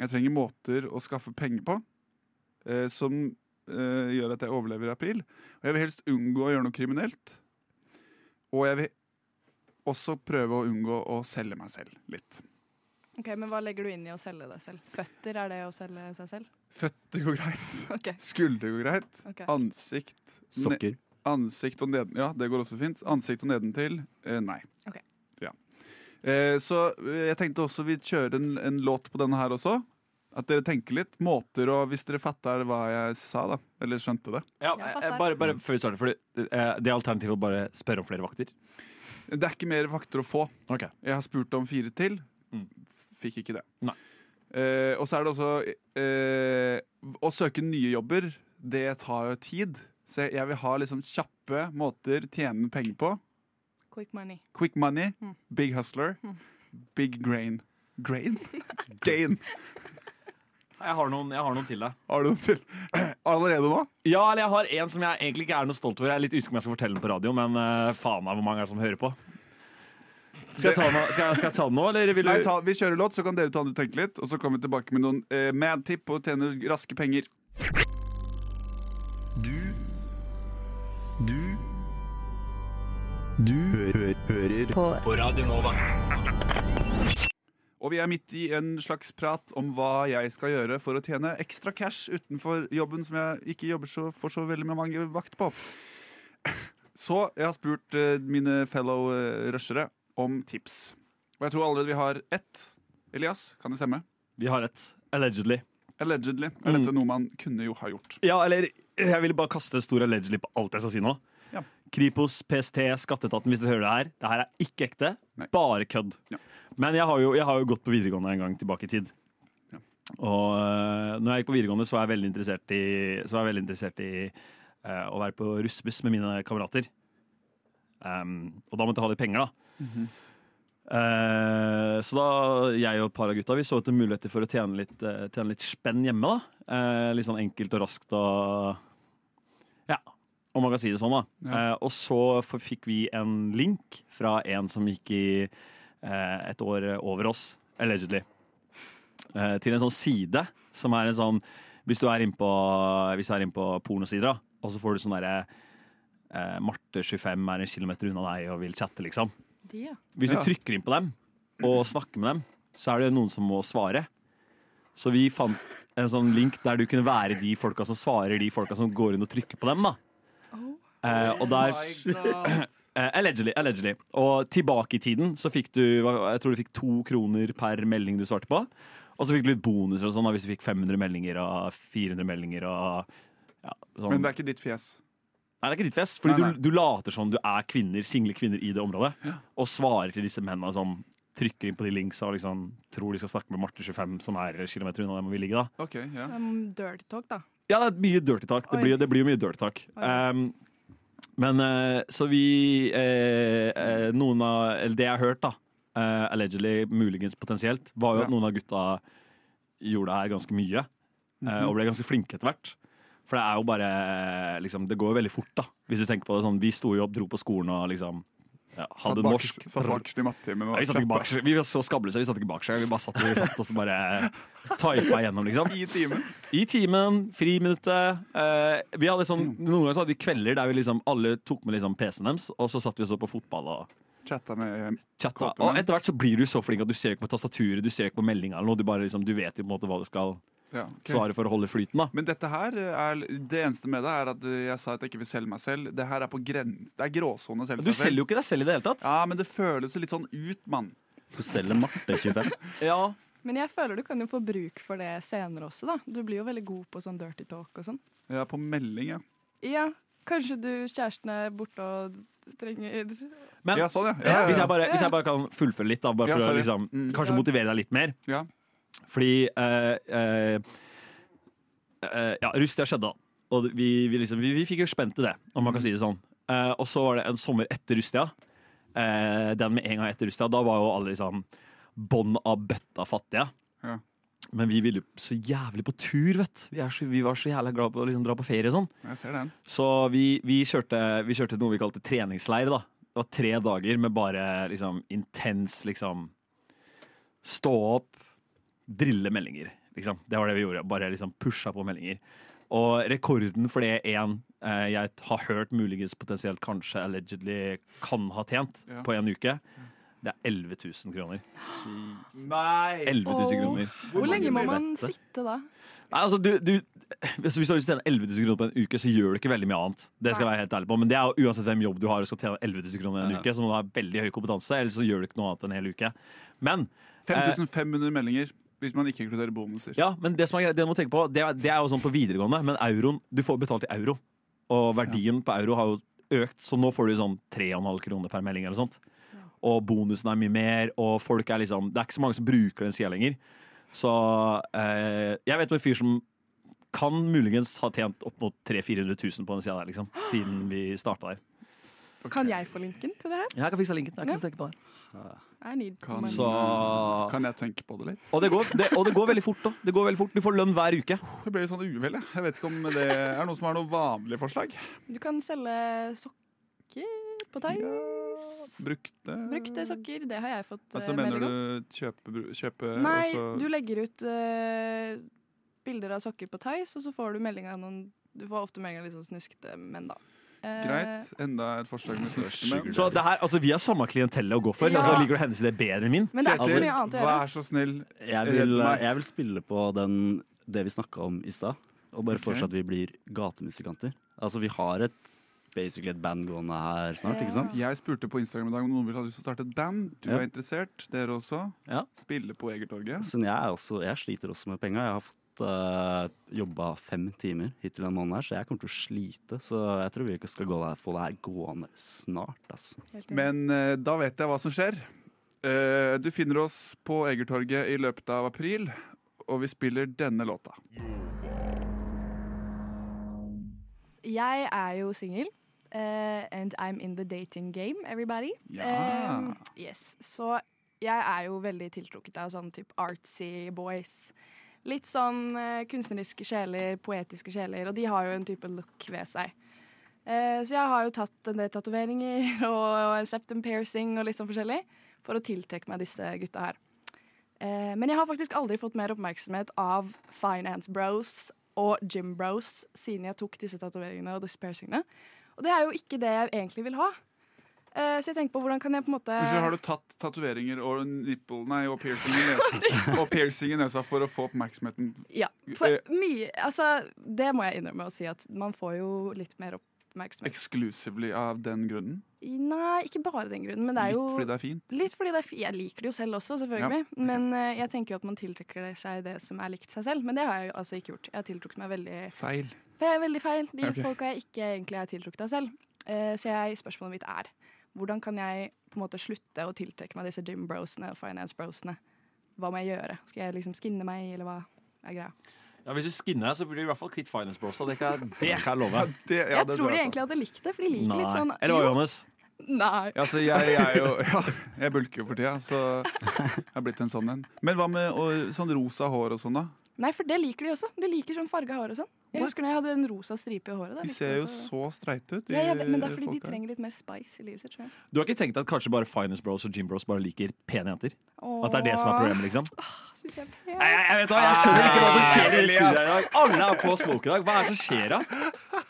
S5: Jeg trenger måter å skaffe penger på eh, som eh, gjør at jeg overlever i april. Og jeg vil helst unngå å gjøre noe kriminelt. Og jeg vil også prøve å unngå å selge meg selv litt.
S7: Ok, Men hva legger du inn i å selge deg selv? Føtter, er det å selge seg selv?
S5: Føtter går greit.
S7: <laughs> Ok.
S5: Skulder går greit.
S7: Ok.
S5: Ansikt ne-
S6: Sokker.
S5: Ansikt og neden, ja, det går også fint. Ansikt og nedentil, eh, nei.
S7: Ok.
S5: Ja. Eh, så eh, jeg tenkte også vi kjører en, en låt på denne her også. At dere tenker litt. Måter og hvis dere fatter hva jeg sa, da. Eller skjønte det.
S13: Ja, eh, bare, bare før vi starter, for det er alternativet å bare spørre om flere vakter.
S5: Det er ikke mer vakter å få. Jeg har spurt om fire til. Fikk ikke det. Eh, og så er det også eh, Å søke nye jobber, det tar jo tid. Så jeg, jeg vil ha liksom kjappe måter tjene penger på.
S7: Quick money.
S5: Quick money,
S7: Mm.
S5: big hustler,
S7: Mm.
S5: big grain. Grain? <laughs> Gain.
S13: Jeg har noen, jeg har noen til deg.
S5: Har du noen til? <clears throat> Allerede nå?
S13: Ja, eller jeg har en som jeg egentlig ikke er noe stolt over. Jeg er litt usikker om jeg skal fortelle den på radio, men eh, faen meg hvor mange er det som hører på. Skal jeg ta den nå, skal jeg, skal jeg ta den nå eller vil du
S5: Nei, ta, vi kjører låt, så kan dere ta den og tenke litt. Og så kommer vi tilbake med noen eh, mad-tipp og tjener raske penger.
S3: Du Du Du hø hø hører på. Radio Nova.
S5: Og vi er midt i en slags prat om hva jeg skal gjøre for å tjene ekstra cash utenfor jobben som jeg ikke jobber så, for så veldig mange vakt på. Så jeg har spurt eh, mine fellow eh, rushere om tips. Og jeg tror allerede vi har ett. Elias, kan det stemme?
S13: Vi har ett. Allegedly.
S5: Allegedly. Er
S8: Mm.
S5: dette noe man kunne jo ha gjort?
S8: Ja, eller jeg vil bare kaste stor allegedly på alt jeg skal si nå.
S5: Ja.
S8: Kripos, PST, Skatteetaten, hvis dere hører det her. Det her er ikke ekte. Bare kødd. Men jeg har, jo, jeg har jo gått på videregående en gang tilbake i tid. Og øh, når jeg gikk på videregående, så var jeg veldig interessert i, så var jeg veldig interessert i øh, å være på russbuss med mine kamerater. Ehm, og da måtte jeg ha litt penger, da. Eh, så da, jeg og et par av gutta Vi så etter muligheter for å tjene litt, eh, tjene litt spenn hjemme. da Eh, Litt sånn enkelt og raskt og Ja, om man kan si det sånn, da. Eh, og så f- fikk vi en link fra en som gikk i eh, et år over oss, allegedly. Eh, til en sånn side som er en sånn Hvis du er inne på, hvis du er inne på pornosider, da, og så får du sånn derre eh, Marte 25 er en kilometer unna deg og vil chatte, liksom.
S7: De, ja.
S8: Hvis du trykker inn på dem og snakker med dem, så er det noen som må svare. Så vi fant en sånn link der du kunne være de folka som svarer de folka som går inn og trykker på dem. da. Eh, og
S5: Oh
S8: der <clears throat> Eh, Allegedly. allegedly Og tilbake i tiden så fikk du hva- Jeg tror du fikk to kroner per melding du svarte på. Og så fikk du litt bonuser og sånn da, hvis du fikk 500 meldinger og 400 meldinger. Og, ja, sånn.
S5: Men det er ikke ditt fjes.
S8: Nei, det er ikke ditt fest, fordi
S5: Nei, nei.
S8: Du, du later som du er kvinner, single kvinner i det området, og svarer til disse mennene som trykker inn på de linksa og liksom tror de skal snakke med Marte 25, som er kilometer unna der hvor vi ligger. da.
S5: Ok, ja.
S7: Um, dirty talk, da.
S8: Ja, det er mye dirty talk. Det
S7: Oi.
S8: blir, det blir jo mye dirty talk. Um, men eh, så vi eh, eh, Noen av Eller det jeg har hørt, da, eh, allegedly, muligens potensielt, var jo
S5: Ja.
S8: at noen av gutta gjorde det her ganske mye. eh,
S5: Mhm.
S8: og ble ganske flinke etter hvert. For det er jo bare eh, liksom, Det går jo veldig fort, da. Hvis du tenker på det sånn Vi sto jo opp, dro på skolen og liksom ja,
S5: Satt
S8: hadde
S5: bak-
S8: norsk.
S5: Satt bakerst i mattetimen. og
S8: Nei, vi satt ikke
S5: chatta.
S8: bak seg. Vi var så skabløse, vi satt ikke bak seg. Vi bare satt, vi satt og så bare typa igjennom, liksom. I timen. I timen, friminuttet. Eh, vi hadde sånn, noen ganger så hadde vi kvelder der vi liksom alle tok med liksom PC-en deres, og så satt vi og så på fotball og
S5: Chatta med
S8: chatta. Og etter hvert så blir du så flink at du ser jo ikke på tastaturet, du ser jo ikke på meldinga eller noe, du bare liksom, du vet jo på en måte hva du skal
S5: Ja, ok.
S8: svare for å holde flyten, da.
S5: Men dette her er, det eneste med det er at eh, jeg sa at jeg ikke vil selge meg selv. Det her er på grens, det er gråsone å selge
S8: Men du selger jo ikke deg selv i det hele tatt.
S5: Ja, men det føles litt sånn ut, mann.
S6: Du selger Marte 25.
S8: Ja,
S7: Men jeg føler du kan jo få bruk for det senere også, da. Du blir jo veldig god på sånn dirty talk og sånn.
S5: Jeg er på melding, ja.
S7: Ja, kanskje du kjæresten er borte og trenger
S8: Men
S5: Ja, sånn, ja. Ja, ja, ja.
S8: Hvis, jeg bare, hvis jeg bare kan fullføre litt, da, bare
S5: Ja,
S8: for å
S5: sorry.
S8: liksom,
S5: Mm.
S8: kanskje
S5: Ja.
S8: motivere deg litt mer.
S5: Ja.
S8: Fordi eh, eh, eh, Ja, russ, det skjedde, da. Og vi, vi, liksom, vi, vi fikk jo spent i det, om man kan si det sånn. Eh, og så var det en sommer etter Rustia. Eh, den med en gang etter Rustia. Da var jo alle liksom bånn av bøtta fattige.
S5: Ja.
S8: Men vi ville jo så jævlig på tur, vet du. Vi, er så, vi var så jævla glad på å liksom dra på ferie og sånn.
S5: Jeg ser den.
S8: Så vi, vi, kjørte, vi kjørte noe vi kalte treningsleir. da. Det var tre dager med bare liksom, intens liksom, Stå opp, drille meldinger. Liksom. Det var det vi gjorde. Bare liksom, pusha på meldinger. Og rekorden for det én eh, jeg har hørt muligens potensielt kanskje allegedly kan ha tjent
S5: Ja.
S8: på en uke, det er 11 000 kroner.
S17: Nei!
S8: 11 000 kroner.
S7: Hvor lenge må man
S8: Helvete.
S7: sitte da?
S8: Nei, altså, du, du, hvis hvis du har lyst til å tjene 11 000 kroner på en uke, så gjør du ikke veldig mye annet. Det skal jeg være helt ærlig på Men det er jo uansett hvem jobb du har og skal tjene 11 000 kroner en
S5: Ja.
S8: uke, så må du ha veldig høy kompetanse, eller så gjør du ikke noe annet en hel uke. Men eh,
S5: 5500 meldinger, hvis man ikke inkluderer bonuser.
S8: ja, men det som er greit, det du må tenke på, det er, det er jo sånn på videregående, men euroen Du får betalt i euro, og verdien på euro har jo økt, så nå får du sånn 3,5 kroner per melding eller sånt. Og bonusen er mye mer, og folk er liksom Det er ikke så mange som bruker den sida lenger. Så eh, jeg vet om en fyr som kan muligens ha tjent opp mot 300 000-400 000 på den sida der, liksom. Siden vi starta der.
S7: Kan jeg få linken til det her?
S8: Jeg kan fikse linken. Jeg
S7: Ja.
S8: kan tenke på det.
S7: I need
S5: Kan,
S7: money.
S8: Så
S5: kan jeg tenke på det litt?
S8: Og det går, det, og det går veldig fort, da. Det går veldig fort. Du får lønn hver uke.
S5: Det ble litt sånn uvel, jeg. Jeg vet ikke om det er noen som har noe vanlig forslag.
S7: Du kan selge sokker på Times.
S5: Brukte
S7: Brukte sokker, det har jeg fått
S5: Altså,
S7: eh,
S5: mener
S7: melding om.
S5: du kjøpe, kjøpe
S7: Nei,
S5: Eh, og så
S7: du legger ut eh, bilder av sokker på Tice, og så får du melding av noen Du får ofte melding av litt sånn snuskete menn, da. Eh,
S5: Greit. Enda et forslag med snuskete menn.
S8: Så det her, altså, vi har samme klientelle å gå for.
S7: Ja.
S8: Altså, liker du hennes idé bedre enn min?
S7: Men det er ikke så
S8: Altså,
S7: mye annet å gjøre.
S5: så snill,
S6: Jeg
S5: redd
S6: vil,
S5: meg.
S6: jeg vil spille på den, det vi snakka om i stad, og bare
S5: Ok.
S6: foreslå at vi blir gatemusikanter. Altså, vi har et basically et band gående her snart, ikke sant?
S5: Jeg spurte på Instagram i dag om noen ville ha lyst til å starte et band. Du
S6: Ja.
S5: er interessert, dere også. Spille på Egertorget.
S6: Så jeg, er også, jeg sliter også med penga. Jeg har fått uh, jobba fem timer hittil denne måneden, her, så jeg kommer til å slite. Så jeg tror vi ikke skal gå der, få det her gående snart. Altså.
S5: Men eh, da vet jeg hva som skjer. Eh, du finner oss på Egertorget i løpet av april, og vi spiller denne låta.
S7: Jeg er jo singel. eh, and I'm in the dating game, everybody.
S5: Ja.
S7: Eh, yes. Så jeg er jo veldig tiltrukket av sånn type artsy boys. Litt sånn eh, kunstneriske sjeler, poetiske sjeler, og de har jo en type look ved seg. Eh, så jeg har jo tatt en del tatoveringer <laughs> og, og en septum piercing og litt sånn forskjellig for å tiltrekke meg disse gutta her. Eh, men jeg har faktisk aldri fått mer oppmerksomhet av finance bros og gym bros siden jeg tok disse tatoveringene og disse piercingene. Og det er jo ikke det jeg egentlig vil ha. Eh, så jeg tenker på hvordan kan jeg på en måte
S5: Unnskyld, har du tatt tatoveringer og nipple, nei, og piercing, i
S7: <laughs>
S5: nesa, og piercing i nesa for å få oppmerksomheten?
S7: Ja. For
S5: Eh,
S7: mye Altså, det må jeg innrømme å si at man får jo litt mer oppmerksomhet.
S5: Exclusively av den grunnen?
S7: Nei, ikke bare den grunnen, men det er jo
S5: Litt fordi det er fint?
S7: Litt fordi det er fi- Jeg liker det jo selv også, selvfølgelig.
S5: Ja, ok.
S7: Men eh, jeg tenker jo at man tiltrekker seg det som er likt seg selv. Men det har jeg jo altså ikke gjort. Jeg har tiltrukket meg veldig
S5: Feil.
S7: Det er veldig feil. De
S5: <laughs> Ok.
S7: folka jeg ikke egentlig er tiltrukket av selv. Eh, så jeg, spørsmålet mitt er hvordan kan jeg på en måte slutte å tiltrekke meg disse gym brosene og finance brosene? Hva må jeg gjøre? Skal jeg liksom skinne meg, eller hva er greia?
S18: Ja, hvis du skinner deg, så blir du i hvert fall kvitt finance bros. da. Det kan jeg, det kan jeg love.
S7: jeg tror de egentlig hadde likt det, for de liker litt sånn
S18: Eller hva,
S7: Jo.
S18: Johannes?
S7: Nei.
S5: Ja, så Altså, jeg, jeg er jo <laughs> ja, Jeg bulker jo for tida, så jeg er blitt en sånn en. Men hva med og, sånn rosa hår og sånn, da?
S7: Nei, for det liker de også. De liker sånn farga hår og sånn. Jeg
S5: What?
S7: husker når jeg hadde en rosa stripe i håret. da
S5: De
S7: likte
S5: ser
S7: jeg
S5: jo
S7: også-
S5: så streite ut.
S7: ja, jeg vet, Men det er fordi
S5: folk
S7: de
S5: der.
S7: trenger litt mer spice i livet sitt, tror jeg.
S8: Du har ikke tenkt at kanskje bare finance bros og gym bros bare liker pene jenter?
S7: Åh.
S8: At det er det som er problemet, liksom?
S7: Synes jeg er pen.
S8: Nei, jeg, jeg vet hva, jeg skjønner ikke hva som skjer i det studioet her i dag. Alle er på smoke i dag. Hva er det som skjer da?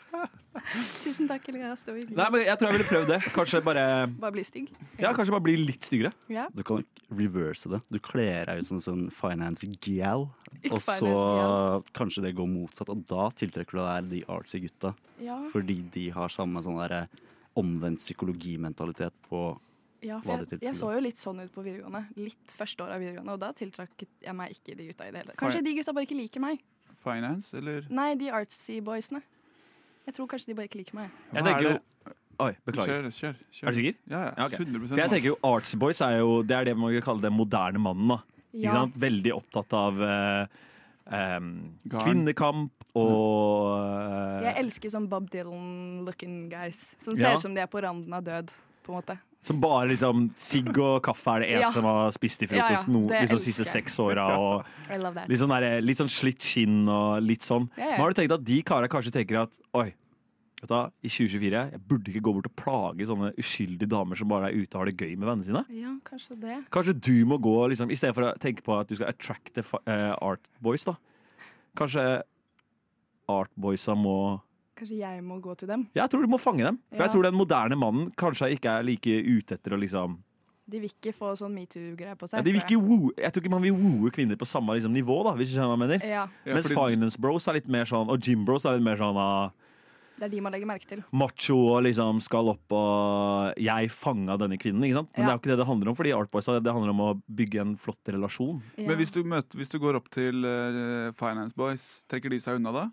S7: Tusen takk, Elias. Det var hyggelig.
S8: Nei, men Jeg tror jeg ville prøvd det. Kanskje bare
S7: Bare bli stygg.
S8: Ja, kanskje bare bli litt styggere.
S7: Ja.
S6: Du kan ikke reverse det. Du kler deg ut som en sånn finance
S7: <laughs>
S6: gal, og
S7: Finance
S6: så kanskje det går motsatt. Og da tiltrekker du deg de artsy gutta,
S7: Ja.
S6: fordi de har samme sånn derre omvendt psykologimentalitet på
S7: Ja,
S6: Var
S7: for
S6: det
S7: jeg,
S6: tilfellet?
S7: jeg så jo litt sånn ut på videregående. Litt første året av videregående, og da tiltrakk jeg meg ikke de gutta i det hele tatt.
S5: Har jeg-
S7: Kanskje de gutta bare ikke liker meg.
S5: Finance, eller
S7: Nei, de artsy boysene. Jeg tror kanskje de bare ikke liker meg.
S5: Hva
S8: Jeg tenker
S5: er
S8: jo Oi, beklager.
S5: Kjør, kjør, kjør.
S8: Er du sikker?
S5: Ja, ja,
S8: ok.
S5: 100%
S8: For jeg tenker jo Artsy Boys er jo det er det man kan kalle den moderne mannen. da
S7: Ja.
S8: Ikke sant? Veldig opptatt av eh, em,
S7: Garn.
S8: kvinnekamp og eh,
S7: Jeg elsker sånn Bob Dylan-looking guys. Som
S8: Ja.
S7: ser ut som de er på randen av død, på en måte.
S8: Som bare liksom sigg og kaffe er det eneste
S7: Ja.
S8: man har spist i
S7: Ja, ja,
S8: frokost no,
S7: det
S8: liksom,
S7: elsker
S8: siste
S7: jeg.
S8: seks åra. og
S7: I love that.
S8: Litt sånn, der, litt sånn slitt skinn og litt sånn.
S7: Ja, ja.
S8: Men har du tenkt at de karene kanskje tenker at oi, vet du, hva, i 2024 jeg burde ikke gå bort og plage sånne uskyldige damer som bare er ute og har det gøy med vennene sine?
S7: Ja, kanskje det.
S8: Kanskje du må gå liksom, I stedet for å tenke på at du skal attracte fa- eh, art boys, da. Kanskje art boysa må
S7: Kanskje jeg må gå til dem.
S8: Jeg tror du må fange dem. For
S7: Ja.
S8: jeg tror den moderne mannen kanskje ikke er like ute etter å liksom
S7: De vil ikke få sånn metoo-greier på
S8: ja,
S7: seg.
S8: de vil
S7: tror
S8: ikke woo, Jeg tror ikke man vil wooe kvinner på samme liksom, nivå, da, hvis du skjønner hva jeg mener.
S7: Ja. Ja,
S8: Mens
S7: fordi-
S8: Finance Bros er litt mer sånn, og Gym Bros er litt mer sånn ah,
S7: jeg. Det er de man legger merke til.
S8: macho og liksom skal opp og Jeg fanga denne kvinnen, ikke sant?
S7: Ja.
S8: Men det er jo ikke det det handler om, fordi Art Boys det handler om å bygge en flott relasjon.
S5: Men hvis du, møter, hvis du går opp til eh, Finance Boys, trekker de seg unna da?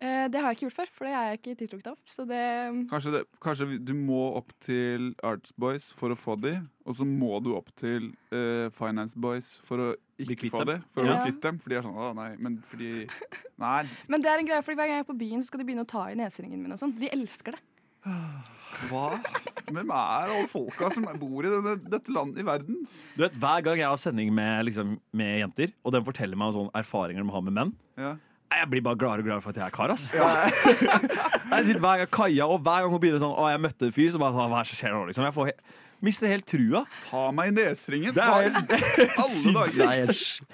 S7: Eh, det har jeg ikke gjort før, for det er jeg ikke tiltrukket av. Så det
S5: Kanskje, det, kanskje vi- du må opp til Arts Boys for å få de, og så må du opp til eh, Finance Boys for å ikke
S8: kvitt
S5: få
S8: dem.
S5: de. For å
S7: Ja.
S5: bli kvitt dem. For de er sånn Å, nei, men fordi
S7: <laughs>
S5: Nei.
S7: Men det er en greie, fordi hver gang jeg er på byen, så skal de begynne å ta i neseringen min og sånn. De elsker det.
S5: Hva? Hvem er alle folka som bor i denne, dette landet i verden?
S8: Du vet, Hver gang jeg har sending med, liksom, med jenter, og de forteller meg om sånne erfaringer de har med menn
S5: Ja.
S8: Nei, Jeg blir bare gladere og gladere for at jeg er kar, ass. <laughs> Jeg sitter hver gang Kaja og hver gang hun begynner sånn Å, jeg møtte en fyr, så bare sånn, Hva er det som skjer nå, liksom? Jeg får he mister helt trua.
S5: Ta meg i neseringen.
S8: Det er helt
S5: Alle dager.
S8: sinnssykt.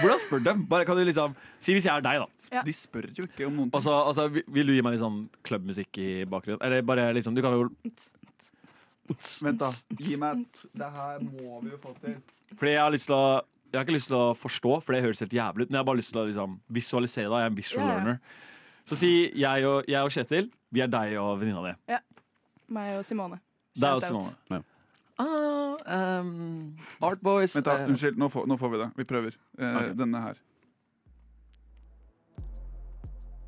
S8: Hvordan spør dem? Bare kan du liksom Si hvis jeg er deg, da.
S5: De spør jo ikke om noen ting.
S8: Altså, altså, vi- vil du gi meg litt sånn klubbmusikk i bakgrunnen? Eller bare liksom Du kan jo
S5: Vent, da. Gi meg et Det her må vi jo få til.
S8: Fordi jeg har lyst til å Jeg har ikke lyst til å forstå, for det høres helt jævlig ut, men jeg har bare lyst til å liksom, visualisere det. Jeg er en visual
S7: Ja, ja.
S8: learner. Så si jeg og, jeg og Kjetil, vi er deg og venninna di.
S7: Ja. Meg og Simone.
S8: Det er jo
S7: Shout out.
S8: Simone. Ah, um, Art Boys
S5: Vent da,
S8: eh,
S5: Unnskyld, nå får, nå får vi det. Vi prøver. Eh, Denne her.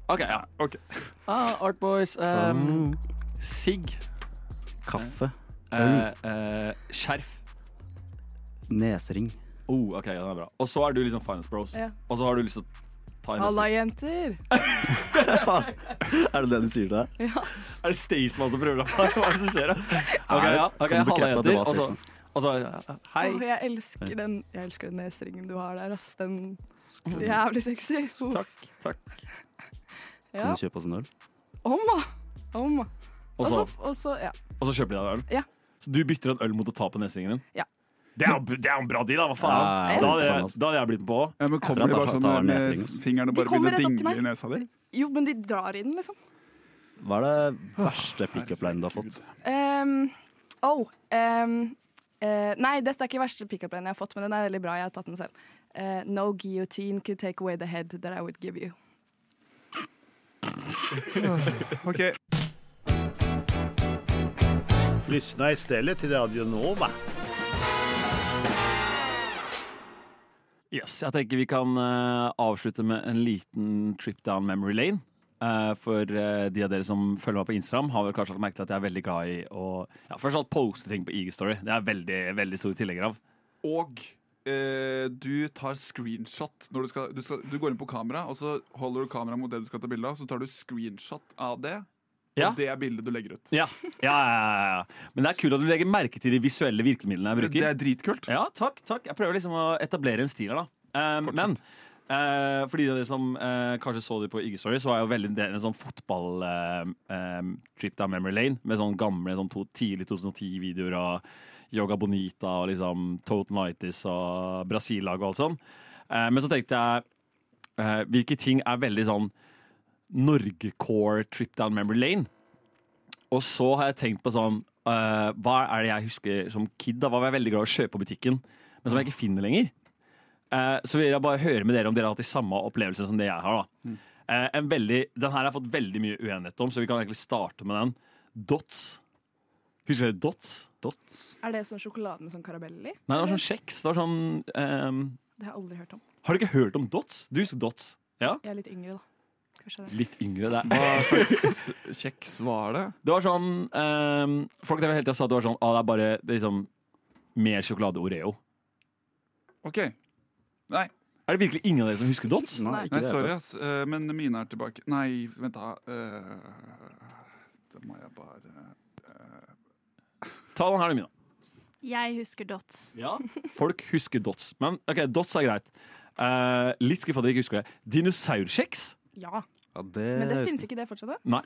S8: OK, ja. Ah, Art Boys um, Sigg.
S6: Kaffe.
S8: Eh, eh, skjerf.
S6: Nesering.
S8: Oh, ok, den er bra. Og så er du liksom Finance Bros.
S7: Ja.
S8: Og så har du lyst til å ta en
S7: Halla, jenter!
S8: Er det det du sier til deg?
S7: <laughs> Ja.
S8: Er det Staysman som prøver deg? <laughs> Hva er det som skjer? da? Ok, ja. ok,
S6: Kan du
S8: Halla,
S6: bekrefte at det var
S8: jenter. Og så-
S6: Staysman?
S8: Og så Hei.
S7: Åh, jeg, elsker den, jeg elsker den neseringen du har der, ass. Den jævlig sexy. Takk.
S8: Takk.
S7: Ja.
S6: Kan du kjøpe oss en øl?
S7: Omma! Omma.
S8: Og
S7: Og
S8: så-
S7: så, og så, ja.
S8: Og så kjøper de deg en øl?
S7: Ja.
S8: Så du bytter en øl mot å ta på nesringen din?
S7: Ja.
S8: Det er jo det er jo en bra deal, da! Hva faen?
S6: Ja, altså. ja, ja.
S8: Da, hadde jeg, da hadde jeg blitt med på.
S5: Ja, men
S8: Jeg tror
S5: kommer de
S8: jeg
S5: bare
S8: tar-
S5: sånn
S8: tar
S5: med,
S8: nesringen,
S5: med
S8: altså.
S5: fingrene og
S7: De
S5: bare
S7: kommer
S5: begynner å
S7: rett opp til
S5: dingle i
S7: meg.
S5: nesa di?
S7: Jo, men de drar i den, liksom.
S6: Hva er det verste pickup-linen du har fått?
S7: Um, oh, um, eh, nei, dette er ikke verste pickup-linen jeg har fått, men den er veldig bra. Jeg har tatt den selv. Eh, no guillotine could take away the head that I would give you.
S5: OK.
S19: Lyssna istället till Radio Nova.
S8: Yes, jeg tenker vi kan eh, avslutte med en liten trip down memory lane. Eh, for eh, de av dere som følger meg på Instagram, har vel kanskje lagt merke til at jeg er veldig glad i å ja, Først alt poste ting på IG Story. Det er jeg veldig, veldig stor tilhenger av.
S5: Og eh, du tar screenshot når du skal du, skal du går inn på kamera, og så holder du kameraet mot det du skal ta bilde av, så tar du screenshot av det.
S8: Ja.
S5: Og det er bildet du legger ut.
S8: Ja, ja, ja, ja, ja. Men det er kult at du legger merke til de visuelle virkemidlene jeg
S5: Eh,
S8: bruker.
S5: Det er dritkult.
S8: Ja, takk, takk. Jeg prøver liksom å etablere en stil her, da. Eh, men eh, for de av dere som eh, kanskje så det på IG Story, så var jeg jo veldig del i en sånn fotball-trip down memory lane med sånn gamle sånn to, tidlig 2010-videoer av Yoga Bonita og liksom Totenitis og Brasil-laget og alt sånn. Eh, men så tenkte jeg eh, hvilke ting er veldig sånn Norge-core trip down memory lane? Og så har jeg tenkt på sånn eh, Hva er det jeg husker som kid? da? Hva var jeg veldig glad i å kjøpe på butikken, men som jeg ikke finner lenger? Eh, så vil jeg bare høre med dere om dere har hatt de samme opplevelsene som det jeg har. da. Eh, en veldig, den her har jeg fått veldig mye uenighet om, så vi kan egentlig starte med den. Dots. Husker dere Dots?
S6: Dots?
S7: Er det sånn sjokolade med sånn karamell i?
S8: Nei, det var sånn kjeks. Det var sånn ehm,
S7: Det har jeg aldri hørt om.
S8: Har du ikke hørt om Dots? Du husker Dots? Ja?
S7: Jeg er litt yngre, da. Kanskje det.
S8: Litt yngre, det.
S5: Hva slags kjeks var det?
S8: Det var sånn ehm, Folk der hele tida sa at det var sånn ah, det er bare det er liksom mer sjokolade Oreo.
S5: OK. Nei.
S8: Er det virkelig ingen av dere som husker Dots?
S5: Nei, sorry, ass. eh, Men mine er tilbake. Nei, vent, da. eh, Det må jeg bare eh,
S8: Ta den her, du, Mina.
S10: Jeg husker Dots.
S8: Folk husker Dots. Men ok, Dots er greit. Eh, litt skuffa at dere ikke husker det. Dinosaurkjeks?
S7: Ja.
S6: det
S7: Men det finnes ikke det fortsatt, da.
S8: Nei.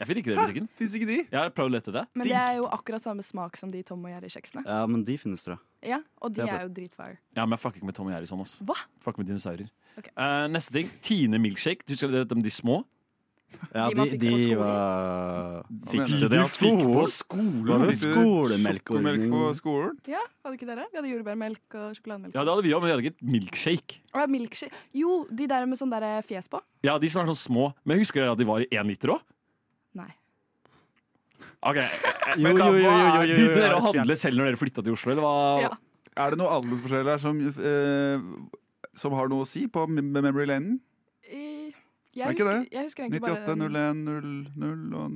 S8: Jeg finner ikke det i butikken.
S5: Fins ikke de?
S8: Jeg har prøvd å lete etter det.
S7: Men det er jo akkurat samme smak som de Tom og Jerry-kjeksene.
S6: Ja, men de finnes, tror jeg.
S7: Ja, og de
S8: Det er
S7: er
S8: sant.
S7: jo dritfire.
S8: Ja, men jeg fucker ikke med Tom og Jerry sånn, ass.
S7: Hva?
S8: Fucker med dinosaurer.
S7: Ok.
S8: Eh, neste ting. Tine milkshake. Du husker det om de små?
S6: Ja,
S8: De man
S6: de,
S8: fikk
S6: de
S8: på skolen.
S6: var
S8: Fikk
S6: de
S8: du
S6: det
S8: fikk på skolen?
S6: Var det
S8: Fikk du
S6: skolemelkordning?
S8: sjokomelk på
S5: skolen?
S7: Ja, hadde ikke dere? Vi hadde jordbærmelk og sjokolademelk.
S8: Ja, det hadde vi òg, men vi hadde ikke milkshake.
S7: Og milkshake. Jo, de der med sånn der eh, fjes på.
S8: Ja, de som er sånn små. Men husker dere at de var i én liter òg?
S7: Nei.
S8: Ok, eh,
S5: Jo,
S8: men da,
S5: jo, jo,
S8: hva
S5: jo,
S8: er-
S5: jo, jo,
S8: Begynte dere
S5: jo,
S8: å handle selv når dere flytta til Oslo, eller hva?
S5: Er det noe aldersforskjell her som, eh, som har noe å si på mem- memory lanen?
S7: I- Jeg
S5: Er ikke
S7: husker,
S5: det?
S7: jeg husker egentlig
S5: 98,
S7: bare den-
S5: 01, 00 og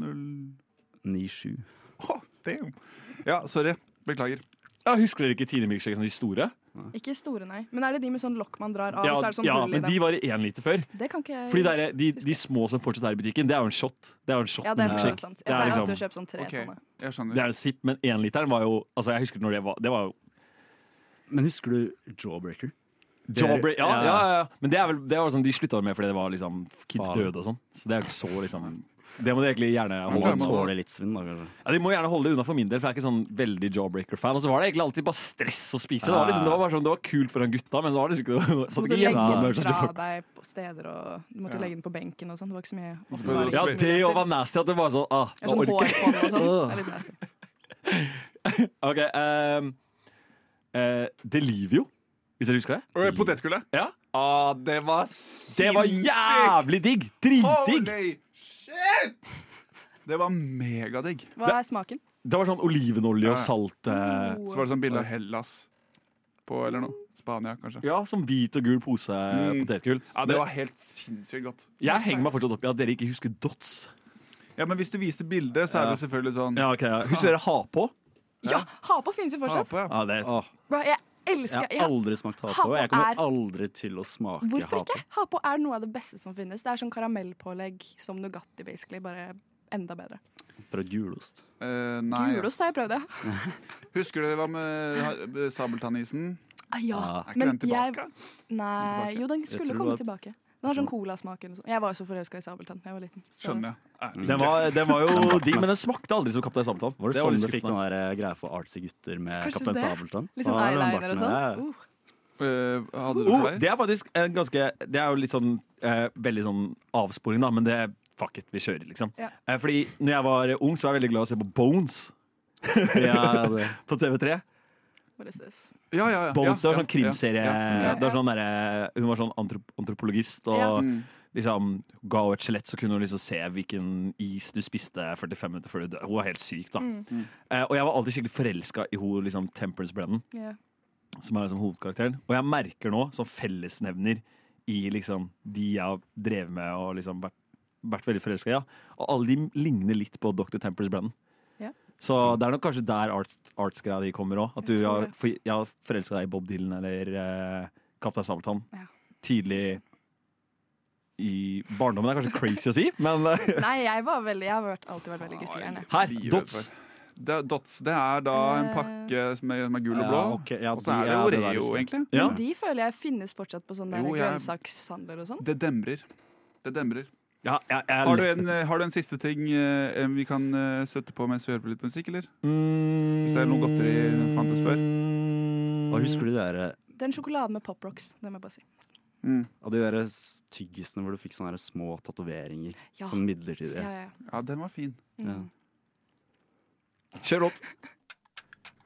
S6: 097.
S5: damn. Ja, sorry. Beklager.
S8: Ja, husker dere ikke Tine milkshake som de store?
S7: Ikke store, nei. Men er det de med sånn lokk man drar av, og så er det sånn
S8: ja
S7: hull i
S8: men de
S7: dem?
S8: var i én liter før.
S7: Det kan ikke jeg
S8: Fordi det er, eh, de, de små som fortsatt er i butikken, det er jo en shot. Det er jo en shot
S7: Ja, det er for så vidt
S8: milkshake.
S7: sant.
S8: Det
S7: Jeg
S8: er
S7: pleier alltid å
S8: liksom-
S7: kjøpe sånn tre sånne.
S8: Det er en sipp, men énliteren var jo Altså, jeg husker når det var Det var jo
S6: Men husker du Jawbreaker?
S8: Jawbreak, ja, ja, ja, ja. Men det er vel det var sånn, de slutta med fordi det var liksom kids
S6: Faen.
S8: døde og sånn. Så det er jo ikke så liksom Det må de egentlig gjerne
S6: Man
S8: holde
S6: kan
S8: unna.
S6: tåle litt svinn, da, kanskje.
S8: Ja, de må gjerne holde det unna for min del, for jeg er ikke sånn veldig jawbreaker-fan. Og så var det egentlig alltid bare stress å spise. Det var liksom, det var bare sånn, det var kult for han gutta, men det var liksom ikke det
S7: Så
S8: satt
S7: måtte du
S8: ikke
S7: legge den
S8: hjemme. sånn
S7: fra
S8: at
S7: deg på steder, og du måtte
S8: Ja.
S7: legge den på benken og sånn. Det var ikke så mye
S8: du- Ja, det òg var nasty. At det var sånn ah,
S7: Det er sånn hår på den og sånn. Det er litt nasty.
S8: <laughs> OK. ehm, eh, Delivio, hvis dere husker det?
S5: Potetgullet?
S8: Ja.
S5: Ah, det var
S8: Det var jævlig digg! Dritdigg!
S5: Holy shit! Det var megadigg.
S7: Hva er smaken?
S8: Det var sånn olivenolje og salt. eh,
S5: Så var det sånn bilde av Hellas på, eller noe. Spania, kanskje.
S8: Ja, sånn hvit og gul pose
S5: Mm.
S8: potetgull.
S5: Ja, det var helt sinnssykt godt.
S8: Jeg henger meg fortsatt opp i at dere ikke husker dots.
S5: Ja, men hvis du viser bildet, så er det jo selvfølgelig sånn
S8: Ja, ok, ja. Husker dere ha på?
S7: Ja, hapa finnes jo fortsatt.
S8: Ja, det
S7: Bro, jeg
S6: Jeg
S7: elsker
S6: har
S7: jeg,
S6: aldri smakt ha på.
S7: Hapo
S6: Jeg kommer
S7: er-
S6: aldri til å smake
S7: Hvorfor
S6: ha på.
S7: ikke? Hapa er noe av det beste som finnes. Det er sånn karamellpålegg som Nugatti, basically. Bare enda bedre.
S6: Prøvd julost.
S5: Eh, nei.
S7: Gulost har jeg prøvd, ja.
S5: Husker dere hva med ha- eh, sabeltannisen?
S7: Ah, ja.
S5: Er ikke den tilbake?
S7: Nei,
S5: tilbake?
S7: jo, den
S5: Jeg tror
S7: skulle
S5: det
S7: komme
S5: var-
S7: tilbake. Den har sånn colasmak eller noe sånt. Jeg var jo så forelska i Sabeltann da jeg var liten. så-
S5: Skjønner jeg. Eh,
S8: Den var, den var jo digg, men den smakte aldri som Kaptein Sabeltann.
S6: Var det,
S8: var
S6: sånn
S8: litt
S6: du fikk den
S8: skuffende.
S6: der eh, greia for artsy gutter med
S8: Kanskje
S6: Kaptein
S8: det?
S6: Sabeltann?
S8: Litt sånn
S6: Ah, den
S8: eyeliner
S6: barten
S8: og sånn?
S6: der.
S7: Uh,
S5: hadde du
S8: oh,
S5: flere?
S8: det er faktisk en ganske Det er jo litt sånn eh, veldig sånn avsporing, da, men det fuck it, vi kjører, liksom.
S7: Ja.
S8: Eh, fordi når jeg var ung, så var jeg veldig glad i å se på Bones
S6: Ja, det-
S8: på TV3.
S7: What is this?
S5: Ja, ja, ja.
S8: Bones, det
S5: Ja,
S8: var
S5: ja,
S8: sånn
S5: ja,
S8: krimserie
S5: ja, ja.
S8: Det var sånn derre- Hun var sånn antrop antropoligist og
S7: Ja.
S8: liksom ga henne et skjelett, så kunne hun liksom se hvilken is du spiste 45 minutter før du døde. Hun var helt syk, da.
S7: Mm. Mm.
S8: Eh, og jeg var alltid skikkelig forelska i hun, liksom, Temperance Brennan,
S7: Ja.
S8: som er liksom hovedkarakteren. Og jeg merker nå, som fellesnevner i liksom de jeg har drevet med og liksom vært, vært veldig forelska i, ja. og alle de ligner litt på Dr. Temperance Brennan.
S7: Ja.
S8: Så det er nok kanskje der art, artsgreia di kommer òg. At du
S7: tror
S8: har,
S7: det.
S8: for, jeg har forelska deg i Bob Dylan eller eh, Kaptein Sabeltann tidlig i barndommen. Det er kanskje crazy å si, men eh, <laughs>
S7: Nei, jeg var veldig, jeg har vært, alltid vært veldig guttegjerne.
S8: her! Dots!
S5: Det, er dots, det er da en pakke som er, som er gul og
S6: Ja,
S5: blå.
S6: ok, ja,
S5: og så
S6: de-
S5: er det
S6: ja, det der liksom.
S5: Oreo,
S6: husker jeg.
S5: egentlig.
S7: Men de føler jeg finnes fortsatt på sånne der
S5: Jo, jeg-
S7: grønnsakshandler og sånn.
S5: Det demrer. Det demrer.
S8: er
S5: har, du
S8: lett
S5: en, eh, har du en siste ting eh, eh, vi kan eh, støtte på mens vi hører på litt musikk, eller?
S6: Mm.
S5: Hvis det er noe godteri som fantes før.
S6: Hva husker du de der,
S7: Den sjokoladen med Pop Rocks, det må jeg bare si.
S6: av de der s- tyggisene hvor du fikk sånne der små tatoveringer?
S7: Ja.
S6: Sånn midlertidige.
S7: Ja, ja.
S5: Ja, den var fin.
S6: Mm.
S5: eh,
S8: Kjør låt.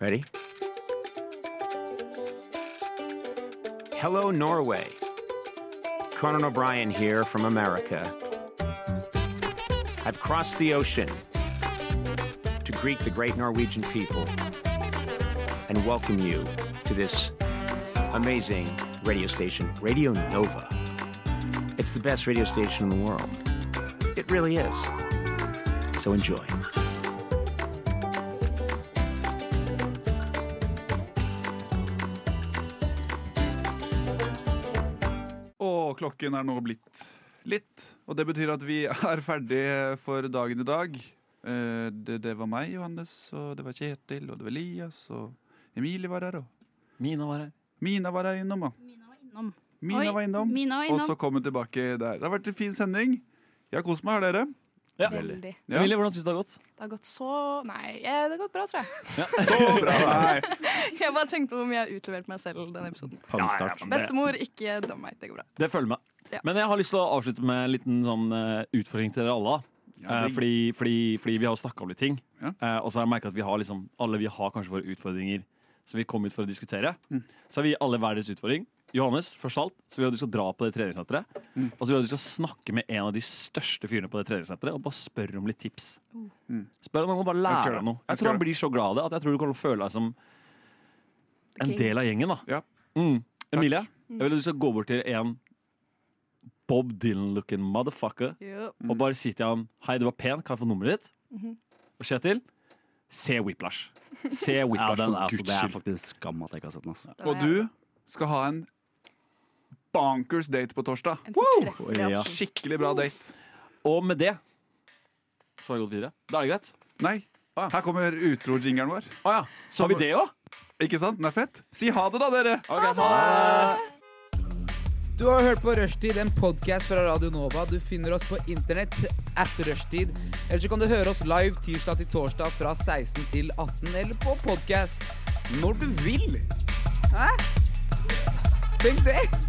S20: Ready?
S21: Hello, Norway. Conan O'Brien here from America. I've crossed the ocean to greet the great Norwegian people and welcome you to this amazing radio station, Radio Nova. It's the best radio station in the world. It really is. So enjoy.
S5: Og klokken er nå blitt litt. Og det betyr at vi er ferdig for dagen i dag. Eh, Det, det var meg, Johannes, og det var Kjetil, og det var Elias, og Emilie var her, og
S8: Mina var her.
S5: Mina var her innom, da.
S10: Innom.
S5: Mina
S10: Oi,
S5: var innom,
S10: Mina var
S5: og så
S10: innom.
S5: kom hun tilbake der. Det har vært en fin sending. Jeg har kost meg, har dere?
S10: Ja. Veldig.
S5: Ja.
S8: Emilie, hvordan syns du det har gått?
S7: Det har gått så Nei, eh, det har gått bra, tror jeg.
S5: Så bra! Nei.
S7: <laughs> Jeg bare tenkte på hvor mye jeg har utlevert meg selv denne episoden.
S8: Pangstart.
S7: Bestemor, ikke døm meg. Det går bra.
S8: Det følger med.
S7: Ja.
S8: Men jeg har lyst til å avslutte med en liten sånn eh, utfordring til dere alle.
S5: Ja,
S8: Eh,
S5: det-
S8: fordi, fordi, fordi vi har jo snakka om litt ting. Eh, og så har jeg merket at vi har liksom, alle vi har kanskje våre utfordringer som vi kom ut for å diskutere.
S5: Mm.
S8: Så har vi alle hver deres utfordring. Johannes, først av alt, så vil jeg at du skal dra på det treningssenteret.
S5: Mm.
S8: Og så vil jeg at du skal snakke med en av de største fyrene på det treningssenteret og bare spørre om litt tips. Spør han om å bare
S5: Mm. Jeg skal
S8: lære
S5: gjøre det.
S8: deg noe.
S5: Jeg
S8: Jeg
S5: skal
S8: tror han
S5: gjøre
S8: blir så glad av det at jeg tror du kommer til å føle deg som en
S5: King.
S8: del av gjengen. da. Mm. Emilie, jeg vil at du skal gå bort til en Bob Dylan-looking motherfucker
S7: Jo.
S8: og
S6: Mm.
S8: bare si til han Hei, du var pen, kan jeg få nummeret ditt?
S7: Mhm.
S8: Og Kjetil, se Whiplash. Se
S6: <laughs> Ja,
S8: Whiplash
S6: den,
S8: for
S6: altså,
S8: guds
S6: det er
S8: skyld.
S6: faktisk skam at jeg ikke har sett den. Altså.
S5: Og du skal ha en bonkers date på torsdag.
S6: Oi, ja.
S5: Skikkelig bra date.
S8: Og med det så har vi gått videre. Da er det greit?
S5: Nei. Her kommer utro-jingeren vår.
S8: Ah, Så har vi det òg?
S5: Ikke sant? Den er fett. Si ha det, da, dere.
S22: Du har hørt på Rushtid, en podkast fra Radio Nova. Du finner oss på internett at rushtid. Eller så kan du høre oss live tirsdag til torsdag fra 16 til 18, eller på podkast når du vil. Hæ? Tenk det!